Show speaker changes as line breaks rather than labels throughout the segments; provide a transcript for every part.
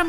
រ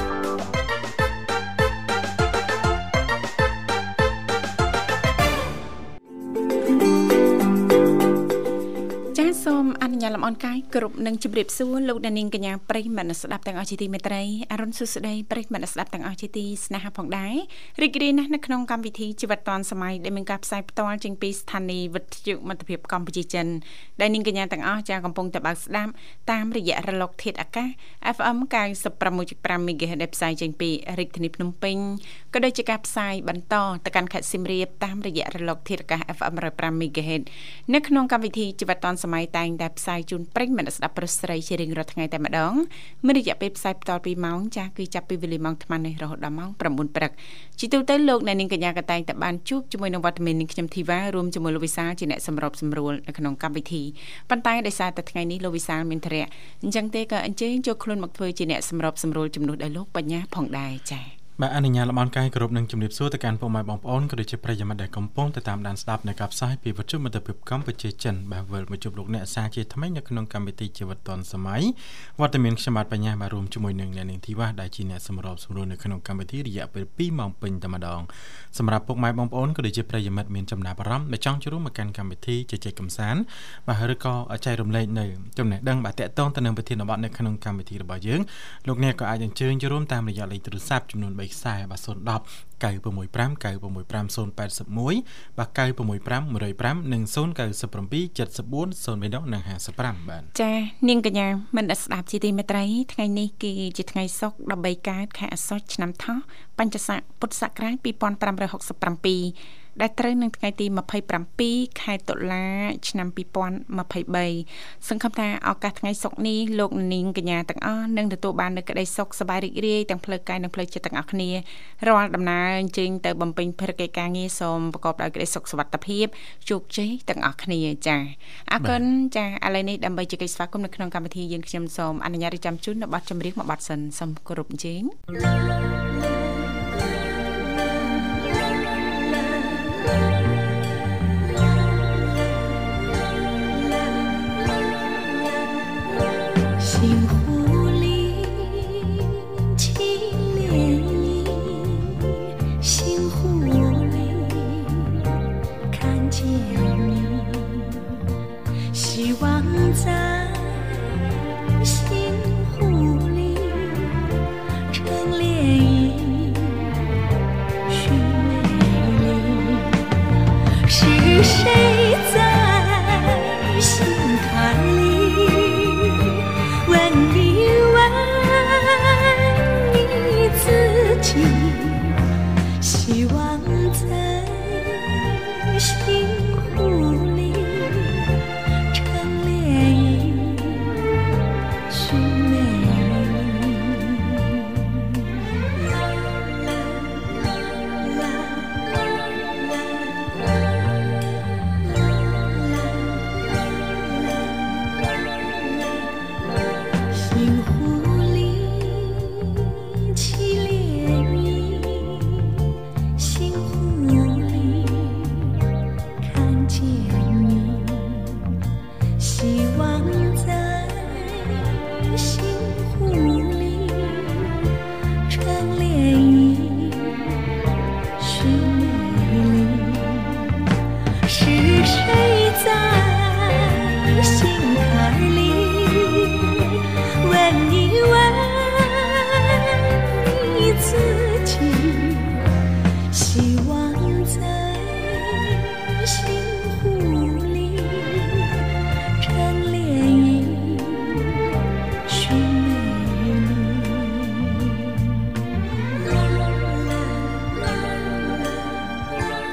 ចាសសូមអនុញ្ញាតលំអរកាយគ្រប់នឹងជម្រាបសួរលោកអ្នកនាងកញ្ញាប្រិយមិត្តអ្នកស្ដាប់ទាំងអស់ជាទីមេត្រីអរុនសុស្ដីប្រិយមិត្តអ្នកស្ដាប់ទាំងអស់ជាទីស្នេហាផងដែររីករាយណាស់នៅក្នុងកម្មវិធីជីវិតឌွန်សម័យដែលមានការផ្សាយផ្ទាល់ចេញពីស្ថានីយ៍វិទ្យុមិត្តភាពកម្ពុជាចិនដែលនាងកញ្ញាទាំងអស់ចាសកំពុងតែបើកស្ដាប់តាមរយៈរលកធាតុអាកាស FM 96.5 MHz ដែលផ្សាយចេញពីរាជធានីភ្នំពេញក៏ដូចជាការផ្សាយបន្តទៅកាន់ខេត្តសៀមរាបតាមរយៈរលកធាតុអាកាស FM 105 MHz នៅក្នុងកម្មវិធីជីវិតឌွန်សម័យតែងតែផ្សាយជូនប្រិយមិត្តអ្នកស្ដាប់ប្រុសស្រីជារៀងរាល់ថ្ងៃតែម្ដងមានរយៈពេលផ្សាយបន្តពីម៉ោងចាស់គឺចាប់ពីវេលាម៉ោង8នេះរហូតដល់ម៉ោង9ព្រឹកជាទូទៅលោកអ្នកនាងកញ្ញាក៏តែងតែបានជួបជាមួយនឹងវត្តមាននាងខ្ញុំធីវ៉ារួមជាមួយលោកវិសាលជាអ្នកសម្របសម្រួលនៅក្នុងកម្មវិធីប៉ុន្តែដោយសារតែថ្ងៃនេះលោកវិសាលមានធរៈអញ្ចឹងទេក៏អញ្ជើញចូលខ្លួនមកធ្វើជាអ្នកសម្របសម្រួលជំនួសដល់លោកបញ្ញាផងដែរចា៎
បាទអនុញ្ញាតលំអរកាយគ្រប់នឹងជំរាបសួរទៅកាន់ពុកម៉ែបងប្អូនក៏ដូចជាប្រិយមិត្តដែលកំពុងតែតាមដានស្ដាប់នៅការផ្សាយពីវិទ្យុមិត្តភាពកម្ពុជាចិនបាទវិលមកជួបលោកអ្នកសាជាថ្មីនៅក្នុងកម្មវិធីជីវិតឌុនសម័យវត្តមានខ្ញុំបាទបញ្ញាបាទរួមជាមួយនឹងអ្នកនាងធីវ៉ាដែលជាអ្នកសម្របសម្រួលនៅក្នុងកម្មវិធីរយៈពេល2ម៉ោងពេញតែម្ដងសម្រាប់ពុកម៉ែបងប្អូនក៏ដូចជាប្រិយមិត្តមានចំណាប់អារម្មណ៍ដែលចង់ចូលរួមមកកាន់កម្មវិធីជជែកកម្សាន្តបាទឬក៏ចែករំលែកនៅចំណេះដឹងបាទតកតងទៅនឹងប្រធានបទនៅក្នុងកម្មវិធីរបស់យើងលោកអ្នកក៏អាចអញ្ជើញចូលរួមតាមរយៈលេខទូរស័ព្ទចំនួន3ខ្សែបាទ010 965965 081បាទ965105និង09774030និង55បាទ
ចា៎នាងកញ្ញាមិនដែលស្ដាប់ជាទីមេត្រីថ្ងៃនេះគឺជាថ្ងៃសុក្រ13កើតខែអាសត់ឆ្នាំថោះបញ្ញស័កពុទ្ធសករាជ2567ដែលត្រូវនឹងថ្ងៃទី27ខែតុលា ឆ្នាំ2023សង្ឃឹមថាឱកាសថ្ងៃសុក្រនេះលោកនាងកញ្ញាទាំងអស់នឹងទទួលបាននូវក្តីសុខសប្បាយរីករាយទាំងផ្លូវកាយនិងផ្លូវចិត្តទាំងអស់គ្នារាល់ដំណើរជើងទៅបំពេញភារកិច្ចការងារសូមប្រកបដោយក្តីសុខសុវត្ថិភាពជោគជ័យទាំងអស់គ្នាចា៎អរគុណចា៎ឥឡូវនេះដើម្បីជែកស្វាគមន៍នៅក្នុងកម្មវិធីយើងខ្ញុំសូមអនុញ្ញាតរៀបចំជូននៅប័ណ្ណចម្រៀងមួយប័ណ្ណសិនសូមគោរពអញ្ជើញ
星湖里轻涟漪，星湖里看见你，希望在星湖里成涟漪，寻美丽。是谁在心坎里问你问你自己？希望在心湖里成涟漪，寻美丽。啦啦啦。星湖里起涟漪，星湖里看见你，希望在星湖里成涟漪，寻美丽。是谁在心坎里问一问你自己？希望在心湖里成涟漪，寻美丽。啦啦啦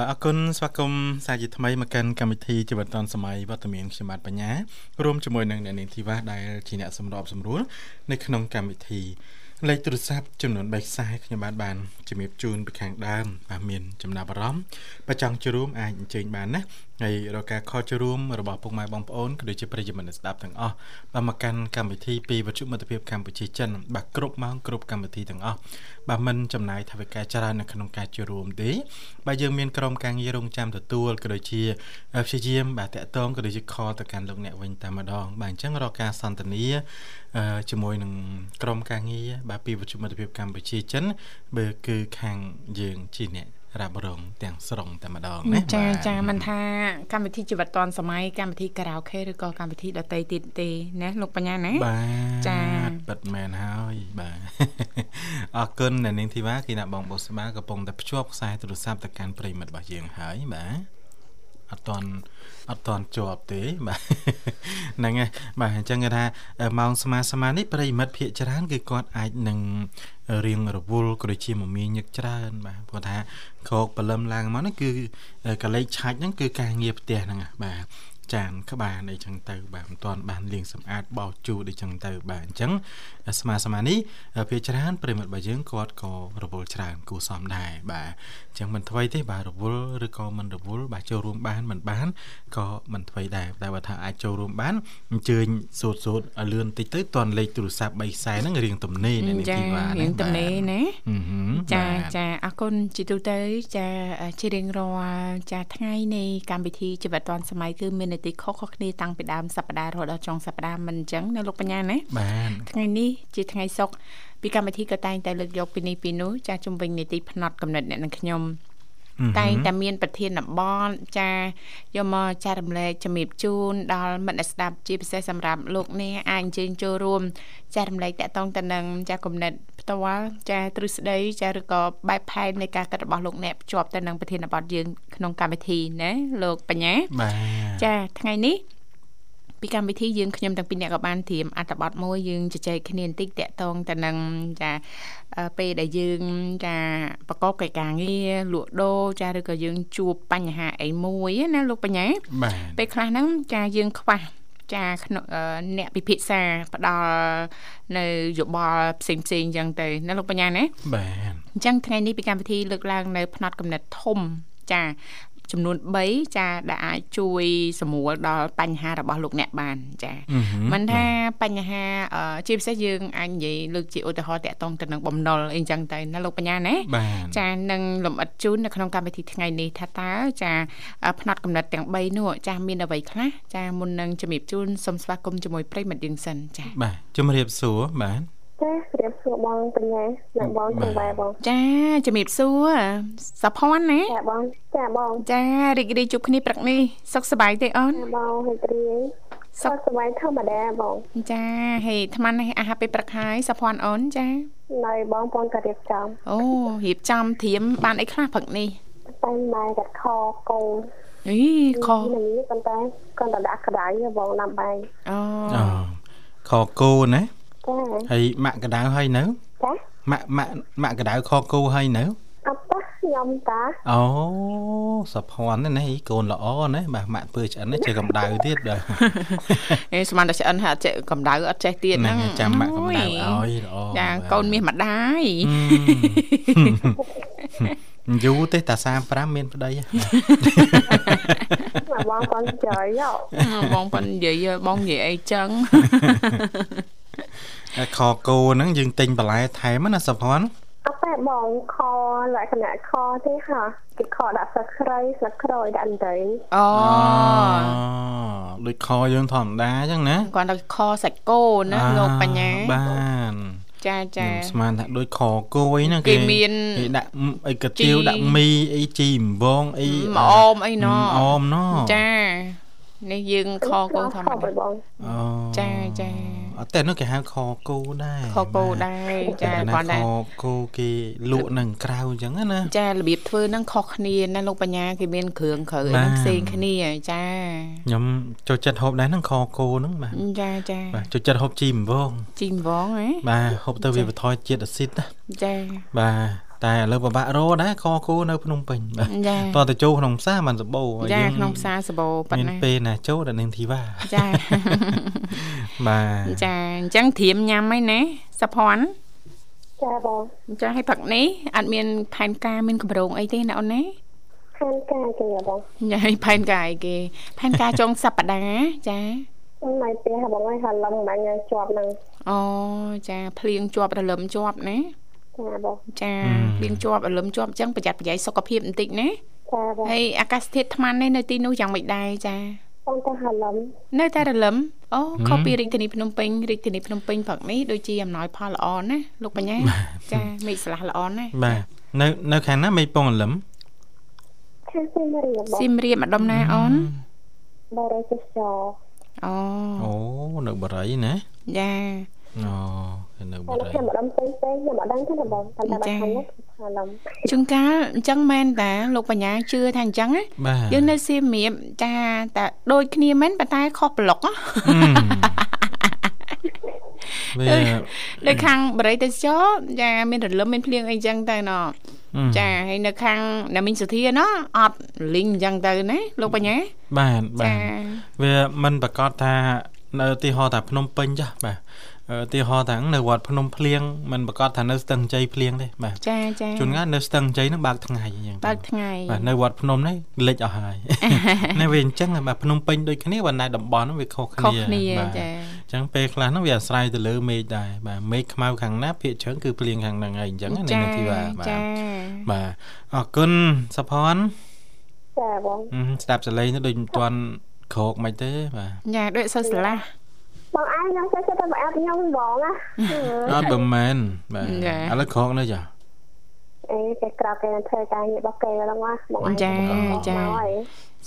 បាទអរគុណស្វាគមន៍សាជាថ្មីមកកាន់កម្មវិធីជីវិតឌុនសម័យវត្តមានខ្ញុំបាទបញ្ញារួមជាមួយនឹងអ្នកនាងធីវ៉ាដែលជាអ្នកសម្របសម្រួលនៅក្នុងកម្មវិធី លេខទូរស័ព្ទចំនួន3ខ្សែខ្ញុំបាទបានជំរាបជូនពីខាងដើមបាទមានចំណាប់អារម្មណ៍បើចង់ចូលរួមអាចអញ្ជើញបានណាហើយរកការខលចូលរួមរបស់ពុកម៉ែបងប្អូនក៏ដូចជាប្រិយមិត្តអ្នកស្ដាប់ទាំងអស់បាទមកកាន់កម្មវិធីពីវិទ្យុមិត្តភាពកម្ពុជាចិនបាទគ្រប់ម៉ោងគ្រប់កម្មវិធីទាំងអស់បាទមិនចំណាយថវិកាច្រើននៅក្នុងការចូលរួមទេបាទយើងមានក្រុមការងាររងចាំទទួលក៏ដូចជាព្យាយាមបាទតាក់ទងក៏ដូចជាខលទៅកាន់លោកអ្នកវិញតែម្ដងបាទអញ្ចឹងរកការសន្ទនាអឺជាមួយនឹងក្រុមការងារបាទពីវិទ្យុមិត្តភាពកម្ពុជាចិនបើគឺខាងយើងជាអ្នករ៉ាប់រងទាំងស្រុងតែម្ដងណា
ចា
បាទ
ចាមិនថាកម្មវិធីជីវិតឌွန်សម័យកម្មវិធីខារ៉ាអូខេឬក៏កម្មវិធីដតីទៀតទេណាលោកបញ្ញាណា
បាទ
ចា៎
ពិតមែនហើយបាទ អរគុណអ្នកនាងធីវ៉ាគីណាបងបុស្បាកំពុងតែភ្ជាប់ខ្សែទូរស័ព្ទទៅកាន់ប្រិមិត្តរបស់យើងហើយបាទអត់តន់អត់តន់ជាប់ទេ បាទហ្នឹងហើយបាទអញ្ចឹងគេថាម៉ោងស្មាស្មានេះប្រិមិត្តភាកច្រើនគឺគាត់អាចនឹងរៀងរវល់ក៏ដូចជាមមាញឹកច្រើនបាទព្រោះថាក្រោកព្រលឹមឡើងមកហ្នឹងគឺកាលេចឆាច់ហ្នឹងគឺការងារផ្ទះហ្នឹងហ่ะបាទ ចានក្បាលអីចឹងទៅបាទមិនទាន់បានលាងសម្អាតបោសជូរអីចឹងទៅបាទអញ្ចឹងស្មារស្មានេះភាគច្រើនប្រិមត្តរបស់យើងគាត់ក៏រវល់ច្រើនគួរសមដែរបាទអញ្ចឹងមិនថ្មីទេបាទរវល់ឬក៏មិនរវល់បាទចូលរួមបានមិនបានក៏មិនថ្មីដែរតែបើថាអាចចូលរួមបានអញ្ជើញសូត្រសូត្រឲ្យលឿនតិចទៅទាន់លេខទូរស័ព្ទ3ខ្សែហ្នឹងរៀងទំនេរនៅនេះទីបាទ
រៀងទំនេរណា
អឺហឹម
ចា
បាទ
ចាអរគុណជីទូទៅចាជារៀងរាល់ចាថ្ងៃនៃកម្មវិធីជីវិតឌွန်សម័យគឺមាននីតិខុសៗគ្នាតាំងពីដើមសប្តាហ៍រហូតដល់ចុងសប្តាហ៍មិនអញ្ចឹងណាលោកបញ្ញាណា
បាទ
ថ្ងៃនេះជាថ្ងៃសុក្រពីកម្មវិធីក៏តែងតែលើកយកពីនេះពីនោះចាស់ជំវិញនីតិផ្នត់កំណត់អ្នកនឹងខ្ញុំ តែងតែមានប្រធានបទចាយកមកចារំលែកជំរាបជូនដល់មិត្តអ្នកស្ដាប់ជាពិសេសសម្រាប់លោកអ្នកអាចអញ្ជើញចូលរួម ចារំលែកតកតងតនឹងចាគំនិតផ្ទាល់ចាទ្រឹស្ដីចាឬក៏បែបផែននៃការគិតរបស់លោកអ្នកភ្ជាប់ទៅនឹងប្រធានបទយើងក្នុងកម្មវិធីណាលោកបញ្ញា
បាទ
ចាថ្ងៃនេះពីកម្មវិធីយើងខ្ញុំទាំងពីរអ្នកក៏បានត្រៀមអត្ថបទមួយយើងជជែកគ្នាបន្តិចតាក់ទងទៅនឹងចាអឺពេលដែលយើងចាប្រកបកិច្ចការងារលក់ដូរចាឬក៏យើងជួបបញ្ហាអីមួយណាលោកបញ្ញា
បាទ
ពេលខ្លះហ្នឹងចាយើងខ្វះចាក្នុងអឺអ្នកពិភាក្សាផ្ដល់នៅយោបល់ផ្សេងផ្សេងអញ្ចឹងទៅណាលោកបញ្ញាណា
បាទ
អញ្ចឹងថ្ងៃនេះពីកម្មវិធីលើកឡើងនៅផ្នត់កំណត់ធំចាចំនួន3ចាដែលអាចជួយសម្រួលដល់បញ្ហារបស់លោកអ្នកបានចា
អឺហឹម
មិនថាបញ្ហាអឺជាពិសេសយើងអាចនិយាយលើកជាឧទាហរណ៍តាក់ទងទៅនឹងបំណុលអីចឹងទៅណាលោកបញ្ញាណា
បាទ
ចានឹងលំអិតជូននៅក្នុងកម្មវិធីថ្ងៃនេះថាតើចាអឺផ្នត់កំណត់ទាំង3នោះចាមានអ្វីខ្លះចាមុននឹងជំរាបជូនសូមស្វាគមន៍ជាមួយប្រិយមិត្តយើងសិនចា
បាទជំរាបសួរបាទ
ចាជំរាបសួរបងបញ្ញាអ្នកបងចង្វាយបង
ចាជំរាបសួរសុភ័ណ្ឌណា
ចាបងចាបង
ចារីករាយជួបគ្នាព្រឹកនេះសុខសប្បាយទេអូន
ចាបងហេតុរី
សុ
សុ
ខ
ខសប្បាយធម្មតាបង
ចាហេអាត្មានេះអាហារពេលព្រឹកហើយសុភ័ណ្ឌអូនចា
នៅបងបងក៏រៀបចំ
អូរៀបចំធៀមបានអីខ្លះព្រឹកនេះ
តែម៉ែកាត់ខកូន
អីខុស
នេះប៉ុន្តែគាត់តែដាក់ក្តៅទេបងដាំបាយ
អូ
អូខគោណា
ចា
ហើយម៉ាក់កដៅហើយនៅ
ចា
ម៉ាក់ម៉ាក់ម៉ាក់កដៅខគោហើយនៅ
អត់តាខ្ញុំតា
អូសុភ័ណ្ឌណាណាអីកូនល្អណាបាទម៉ាក់ពើឆ្អិនណាចេះកម្ដៅទៀតបាទ
អេស្មានតែឆ្អិនហើយអត់ចេះកម្ដៅអត់ចេះទៀត
ហ្នឹង
ហ្នឹង
ហើយចាំម៉ាក់កម្ដៅ
អូ
ឲ្យល្អ
ចា
បាទ
កូនមាសម្ដាយ
យូរទេតា35មានប្តីហ៎
មកបងបងចយយោ
បងប៉ុននិយាយបងនិយាយអីចឹ ង
តែខគោហ្នឹងយើងទិញបន្លែថែមណាសុភ័ណ្ឌ
អត់តែបងខលក្ខណៈខទេហ่ะគេខដាក់ស្លឹកគ្រៃស្លឹកក្រូចដាក់អន្ទៃ
អូ
ដូចខយើងធម្មតាអញ្ចឹងណា
គាត់ដល់ខសាច់គោណាលោកបញ្ញា
បាទ
ចាចា
ខ្ញុំស្មានថាដូចខគោអីណា
គេមាន
គេដាក់អីកាទៀវដាក់មីអីជីអំបងអី
មកអមអីណោ
អមណ
ចានេះយើងខកូនធម្ម
ខ
តា
បង
អូ
ចាចា
អត់តែនោះគេហៅខគោដែរ
ខកូនដែរចា
បា
គា
ទ
ត់ដែរ
ខគោគេលក់នៅក្រៅអញ្ចឹងណា
ចារបៀបធ្វើហ្នឹងខុសគ្នាណាលោកបញ្ញាគេមានគ្រឿងគ្រើអីហ្នឹង
បាទ
ផ្សេងគ្នាចា
ខ្ញុំចូលចិត្តហូបដែរហ្នឹងខគោហ្នឹងបាទ
ចាចា
បាទចូលចិត្តហូបជីអំបង
ជីងវងហ៎
បាទហូបទៅវាបន្ថយជាតិអាស៊ីតណា
ចា
បាទតែឥឡូវពិបាករកដែរខគោនៅភ្នំពេញបាទ
ចា
តោះទៅចូលក្នុងផ្សារបានសបោហើយ
ចា
យើង
ក្នុងផ្សារសបោប៉ុ
មាន
ណ្ណា
ពេលណាចូលដល់នឹងធីវ៉ា
ចា
បាទ
ចាអញ្ចឹងធรียมញ៉ាំអីណាសុភ័ណ្ឌ
ចាបង
អញ្ចឹងឲ្យព្រឹកនេះអត់មានផែនការមានកម្រងអីទេណាអូនណា
ខែនការជាបង
ញ៉ៃផែនការអីគេផែនការចុងសប្តាហ៍ចា
មិនមកផ្ទះបងហើយហឡឹមមិនអាចជាប់នឹង
អូចាភ្លៀងជាប់រលឹមជាប់ណា
ចាបង
ចា
ម
ភ្លៀងជាប់រលឹមជាប់អញ្ចឹងប្រយ័ត្នប្រយែងសុខភាពបន្តិចណា
ចាបង
ហើយអាកាសធាតុថ្មនេះនៅទីនោះយ៉ាងម៉េចដែរចា
បងតែហឡឹម
នៅតែរលឹមអូខុសពីរាជធានីភ្នំពេញរាជធានីភ្នំពេញព្រឹកនេះដូចជាអំណោយផលល្អណាលោកបញ្ញាចាមេឃស្លាស់ល្អណា
បាទនៅនៅខាងណាមេឃពងអលឹម
ខែសិមរៀបបង
សៀមរាបម្ដុំណាអូន
បរិសិទ្ធចរ
អូ
អូនៅបរិយណា
ចា
អូគេនៅប
តែ
រិយ
ខ្ញុំមិនដឹងផ្សេងផ្សេងខ្ញុំមិនដឹងទេណាបងតែតែខាងនេះហឡឹម
ជួនកាលអញ្ចឹងមែនតាលោកបញ្ញាជឿថាអញ្ចឹងណា
បាទ
យើងនៅសៀមរាបចាតែដូចគ្នាមែនប៉ុន្តែខុសប្លុកហ៎
អឺ វា
នៅខាងបរិយទេសចរចាមានរលឹមមានភ្លៀងអីអញ្ចឹងទៅណចាហើយនៅខាងណាមីងសុធាណអត់លីងអញ្ចឹងទៅណាលោកបញ្ញា
បាទបា
ចា
ទវាមិនប្រកាសថានៅឧទីហោថាភ្នំពេញចាស់បាទអឺឧទីហោថានៅវត្តភ្នំភ្លៀងមិនប្រកាសថានៅស្ទឹងជ័យភ្លៀងទេបាទ
ចាចា
ជួនកាលនៅស្ទឹងជ័យហ្នឹងបើកថ្ងៃអញ្ចឹង
បើកថ្ងៃ
បាទនៅវត្តភ្នំនេះលិចអស់ ហើយ នៅវាអញ្ចឹងបាទភ្នំពេញដូចគ្នាបណ្ដៃតំបន់ហ្នឹងវាខុសគ្នា
ខុសគ្នា
បាទ
ចា
អញ្ចឹងពេលខ្លះហ្នឹងវាអាស្រ័យទៅលើមេឃដែរបាទមេឃខ្មៅខាងណាភាគច្រើនគឺភ្លៀងខាងហ្នឹងហើយអញ្ចឹងណានៅទីបាទបាទ
ចា
បាទអរគុណសុផន
ចាបង
អឺស្ដាប់សលេងទៅដូចមិនទាន់ក្រោកមិនទេបាទ
ចាដូចសូវស្រឡះ
បងអាយខ្ញុំចូលចិត្តតែបងអាប់ខ្ញុំបងណា
អត់បើមែនបាទឥឡូវក្រោកនៅចា
អេតែក្រោកគេនឹងធ្វើការងាររបស់គេឡើងណាបងអាយ
ចាចា
ហើយ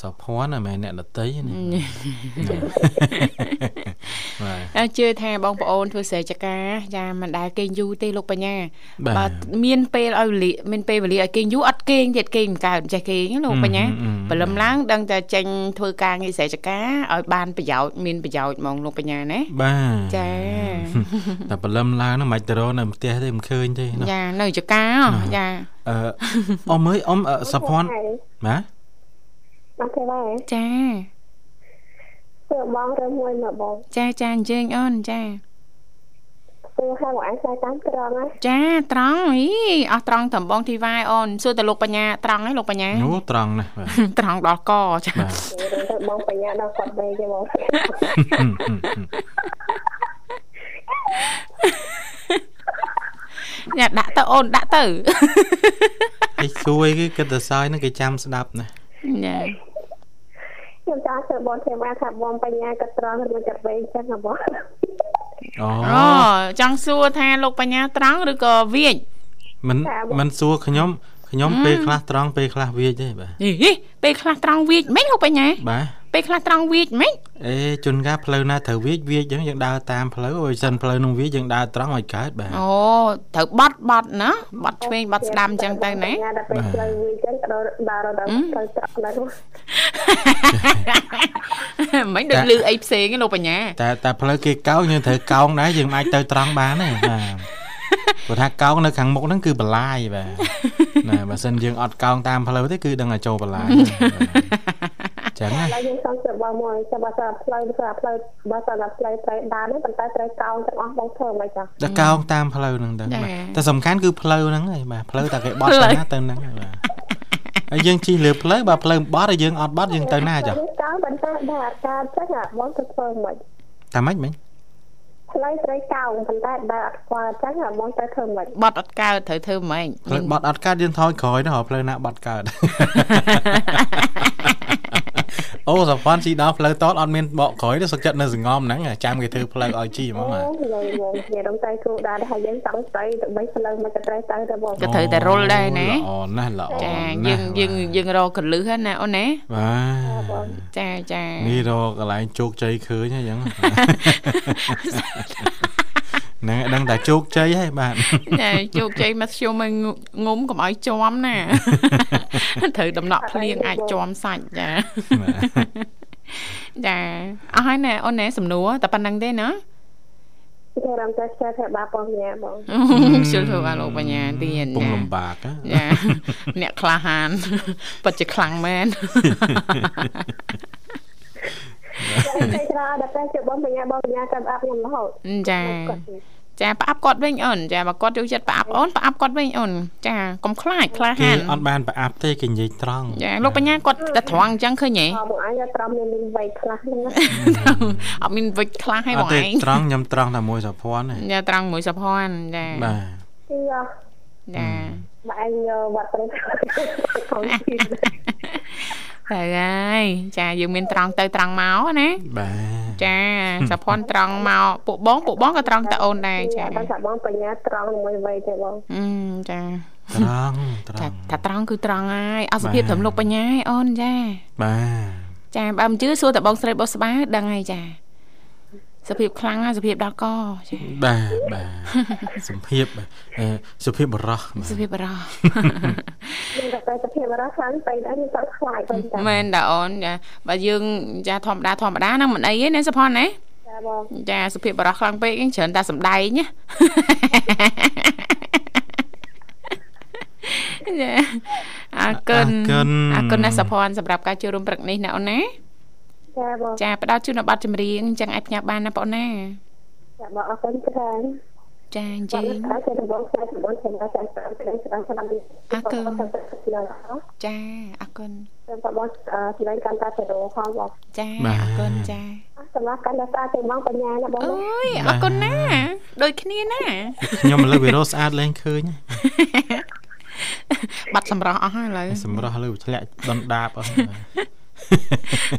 សពភ័ណ្ឌហ្នឹងមែនអ្នកដតីណាបាទ
ហើយជឿថាបងប្អូនធ្វើស្រែចការចាមិនដែលគេងយូរទេលោកបញ្ញា
បាទ
មានពេលឲ្យវេលាមានពេលវេលាឲ្យគេងយូរអត់គេងទៀតគេងមិនកើតចេះគេងណាលោកបញ្ញា
អឺអឺ
ព្រលឹមឡើងដឹងតែចេញធ្វើការងារស្រែចការឲ្យបានប្រយោជន៍មានប្រយោជន៍ហ្មងលោកបញ្ញាណា
បាទ
ចា
តែព្រលឹមឡើងហ្នឹងមិនអាចទៅរកនៅផ្ទះទេមិនឃើញទេណា
ចានៅចការហ៎ចា
អឺអ៊ំអើយអ៊ំអឺសពភ័ណ្ឌណា
មកទេដែរ
ចា
គឺបងរើមួយមកបង
ចាចាអញ្ជើញអូនចា
គឺហើយបងអាយឆ្លើយតាមត្រង់ណា
ចាត្រង់អីអស់ត្រង់ត្រំបងធីវ៉ាយអូនសួរតែលោកបញ្ញាត្រង់ហើយលោកបញ្ញា
នោះត្រង់ណាស់បាទ
ត្រង់ដល់កចា
បាទ
ទៅបងបញ្ញាដល់គាត់វិញទេបង
អ្នកដាក់ទៅអូនដាក់ ទៅ
គេសួយគេគិតតែសើចហ្នឹងគេចាំស្ដាប់ណា
ញ៉ា
ខ្ញុំចង់សួរបងទេវ៉ាថាបងបញ្ញាក៏ត្រង់រួចចាប់វិញចឹងហ៎បង
អូ
អូចង់សួរថាលោកបញ្ញាត្រង់ឬក៏វាច
មិនមិនសួរខ្ញុំខ្ញុំពេលខ្លះត្រង់ពេលខ្លះវាចទេបាទ
អីពេលខ្លះត្រង់វាចមិនហូបបញ្ញា
បាទ
ពេលខ្លះត្រង់វាចមិន
អេជួនកាលផ្លូវណាត្រូវវាចវាចអញ្ចឹងយើងដើរតាមផ្លូវបើមិនសិនផ្លូវនោះវាចយើងដើរត្រង់ឲ្យកើតបាទ
អូត្រូវបត់បត់ណាបត់ឆ្វេងបត់ស្ដាំអញ្ចឹងទៅណា
បញ្ញាដល់ពេលផ្លូវវិញចឹងក៏ដល់ដល់ដល់ទៅត្រង់ដែរ
មិនដូចលឺអីផ្សេងទេលោកបញ្ញា
តែតែផ្លូវគេកោងយើងត្រូវកោងដែរយើងមិនអាចទៅត្រង់ បានទេបាទព្រោះថាកោងនៅខាងមុខហ្នឹងគឺបលាយ បាទណាបើសិនយើងអត់កោងតាមផ្លូវទេគឺដឹងតែចូលប លាយបាទអញ្ចឹងណា
ឡើយយើងចង់សួរបងមួយចាំបើសិនផ្លូវស្រាប់ផ្លូវបើសិនដល់ផ្លូវត្រូវដើរនេះប៉ុន្តែត្រូវកោងទាំងអស់បងធ្វើមិនចា
តែកោងតាមផ្លូវហ្នឹងទៅបាទតែសំខាន់គឺផ្លូវហ្នឹងឯងបាទផ្លូវតែគេបត់ទៅណាទៅហ្នឹងឯងបាទហើយយើងជិះលើផ្លូវបើផ្លូវបត់ហើយយើងអត់បត់យើងទៅណាចុះ
យើងកោងប៉ុន្តែដល់អាការចឹងហ่ะបងទៅធ្វើមិន
តាម៉េចមិញ
ផ្លូវត្រូវកោងប៉ុន្តែដល់អត់ខ្វល់ចឹងហ่ะបងទៅធ្វើមិន
បត់អត់កើតត្រូវធ្វើម៉េច
ផ្លូវបត់អត់កើតយើងថយក្រោយទៅរកផ្លូវណាបត់កើត អូសផាន់ជីដល់ផ្លូវតតអត់មានបកក្រោយទេសឹកចិត្តនៅសង្ងមហ្នឹងចាំគេធ្វើផ្លូវឲ្យជីហ្មងបាទ
យើងយើងនិយាយរំតែគូដែរហើយយើងចង់ទៅដើម្បីផ្លូវមកត្រូវទៅទៅបង
ក៏ត្រូវតែរុលដែរណា
ល្អណាស់ល្អ
ចា
ណាស់
យើង
បា
យើង
ទ
យើងរកកលឹះហ្នឹងណាអូនណា
បាទ
ចា ចា
នេះរកកន្លែងជោគជ័យឃើញ ហើយអញ្ចឹង ហ្នឹងឯងដឹងតែជោគជ័យហើយបាទ
ចាជោគជ័យមកខ្ញុំឲ្យងុំកុំឲ្យជាប់ណា ត្រូវដំណក់ភ្លៀងអាចជាប់សាច់ចាចាអស់ហើយណាអូនណាសំណួរតែប៉ុណ្្នឹងទេណា
យើងរំតែខ្ជិលថាបាបងញ៉ាបង
ជួយធ្វើឲ្យលោកបញ្ញាទៀត
ពង
ចា
លំបាក
ច
ណា
ាអ្នកក្លាហាន ពិតជាខ្លាំង មែន
តែច្រើនដល់ពេលជិះបងបញ្ញាបងបញ្ញាតាមអាប់ខ្ញុំរហូត
ចា ចាប្រអប់គាត់វិញអូនចាបើគាត់យកចិត្តប្រអប់អូនប្រអប់គាត់វិញអូនចាកុំខ្លាចក្លា
គេ
ហាន
អត់បានប្រអាប់ទេគេនិយាយត្រង់
ចាលោកបញ្ញាគាត់តែត្រង់អញ្ចឹងឃើ ញហ៎
អមកអញត្រមមានមានវ័យខ្លះហ្នឹងណា
អត់មានវិចខ្លះហ៎
អ
បង
ត់ទេ
ឯង
ត្រង់ខ្ញុំត្រង់តែមួយសុភ័ណ្ឌហ្នឹង
ចាត្រង់មួយសុភ័ណ្ឌចា
បាទ
ទីអស់
ចា
បើអញយកវត្តព្រៃ ខ្លួនទី
តែហើយចាយើងមានត្រង់ទៅត្រង់មកណា
បាទ
ចាសុភ័ណ្ឌត្រង់មក ពួកបងពួកបងក៏ត្រង់ទៅអូនដែរ ចា
តែថាបងបញ្ញាត្រង់មួយវ័យទេបង
អឺមចា
ត្រង់ត្រ
ថា
ង់
ថាត្រង់គឺត្រង់ហើយអសុភាព
បាទ
ត្រឹមលោកបញ្ញាឯងអូនចា
បាទ
ចាបើមិនជឿសួរតែបងស្រីបុស្បាដឹងហើយចាសុភាពខ្លាំងហើយសុភាពដល់កចា
បាទបាទសុភាពបាទអឺសុភាពបរោះបាទ
សុភាពបរោះ
មានតែតែសភាពរស់ខ្លាំងពេកដែរមានតែខ្លាចពេក តែ
មែនតាអូនចាបើយើងចាធម្មតាធម្មតាហ្នឹងមិនអីទេណាសុផនណា
ចាបង
ចាសុភាពបរោះខ្លាំងពេកហ្នឹងច្រើនតែសំដែងណា ចាអរគុណអរគុណណាសុផនសម្រាប់ការចូលរួមព្រឹកនេះណាអូនណា
ចាបង
ចាផ្ដល់ជូននៅប័ណ្ណចម្រៀងអញ្ចឹងអាចផ្ញើបានណាបងអូនណា
ចាបងអរគុណច្រើន
ចាអ
ចា
ញ្ចឹង
អរគុណបងស្រីបងស្រីចាស់ចាស់ស្រីស្រីស្រី
អរគុណ
បងស្រីស្រី
ចាអរគុណ
បងស្រីកាន់តែទៅរកផងបង
ចាអរគុណចា
សម្រាប់កាន់តែស្អាតទៅបងបញ្ញាណាបង
អូយអរគុណណាដូចគ្នាណា
ខ្ញុំឥឡូវវារស់ស្អាតឡើងឃើញ
បាត់សម្រស់អស់ហើយឥឡូវ
សម្រាប់ឥឡូវធ្លាក់ដុនដាបអស់បាទ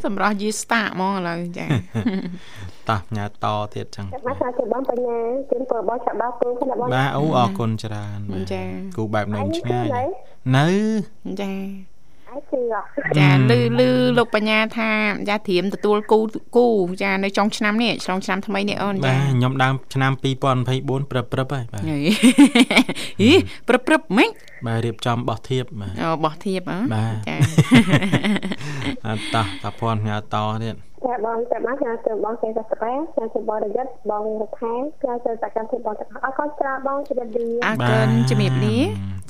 សម្រាប់យីស្តាហ្មងឥឡូវចា
តោះញ៉ាតទៀតចឹង
ចាំមកស្អាតទៅបងបញ្ញាជូនពរបងចាប់ដល់គូណាបង
បាទអូអរគុណច្រើនបាទគូបែបនឹងឆ្ងាយនៅ
ចា
អាយគឺអត់
ចាលឺលឺលោកបញ្ញាថាចាត្រៀមទទួលគូគូចានៅចុងឆ្នាំនេះឆ្លងឆ្នាំថ្មីនេះអូន
បា
ចា
ទខ្ញុំដើមឆ្នាំ2024ព្រឹបព្រឹបហើយបាទ
ហី ហីប្រឹបប្រឹបហ្មិញ
បាទរៀបចំបោះធៀបបាទ
អូបោះធៀបអ្ហ៎
បាទ
ចា
អត់តោះតាភ័ណ្ឌញ៉ាតទៀត
ចាបងចាំមកស្អាតទៅបងស្រីស្រីចាំទៅបងរយ័ត្នបងរខែចាំទៅសកម្មភាពបងទាំងអស់អរគុណច្រើនបងជម្រាបលា
អរគុណជំរាបលា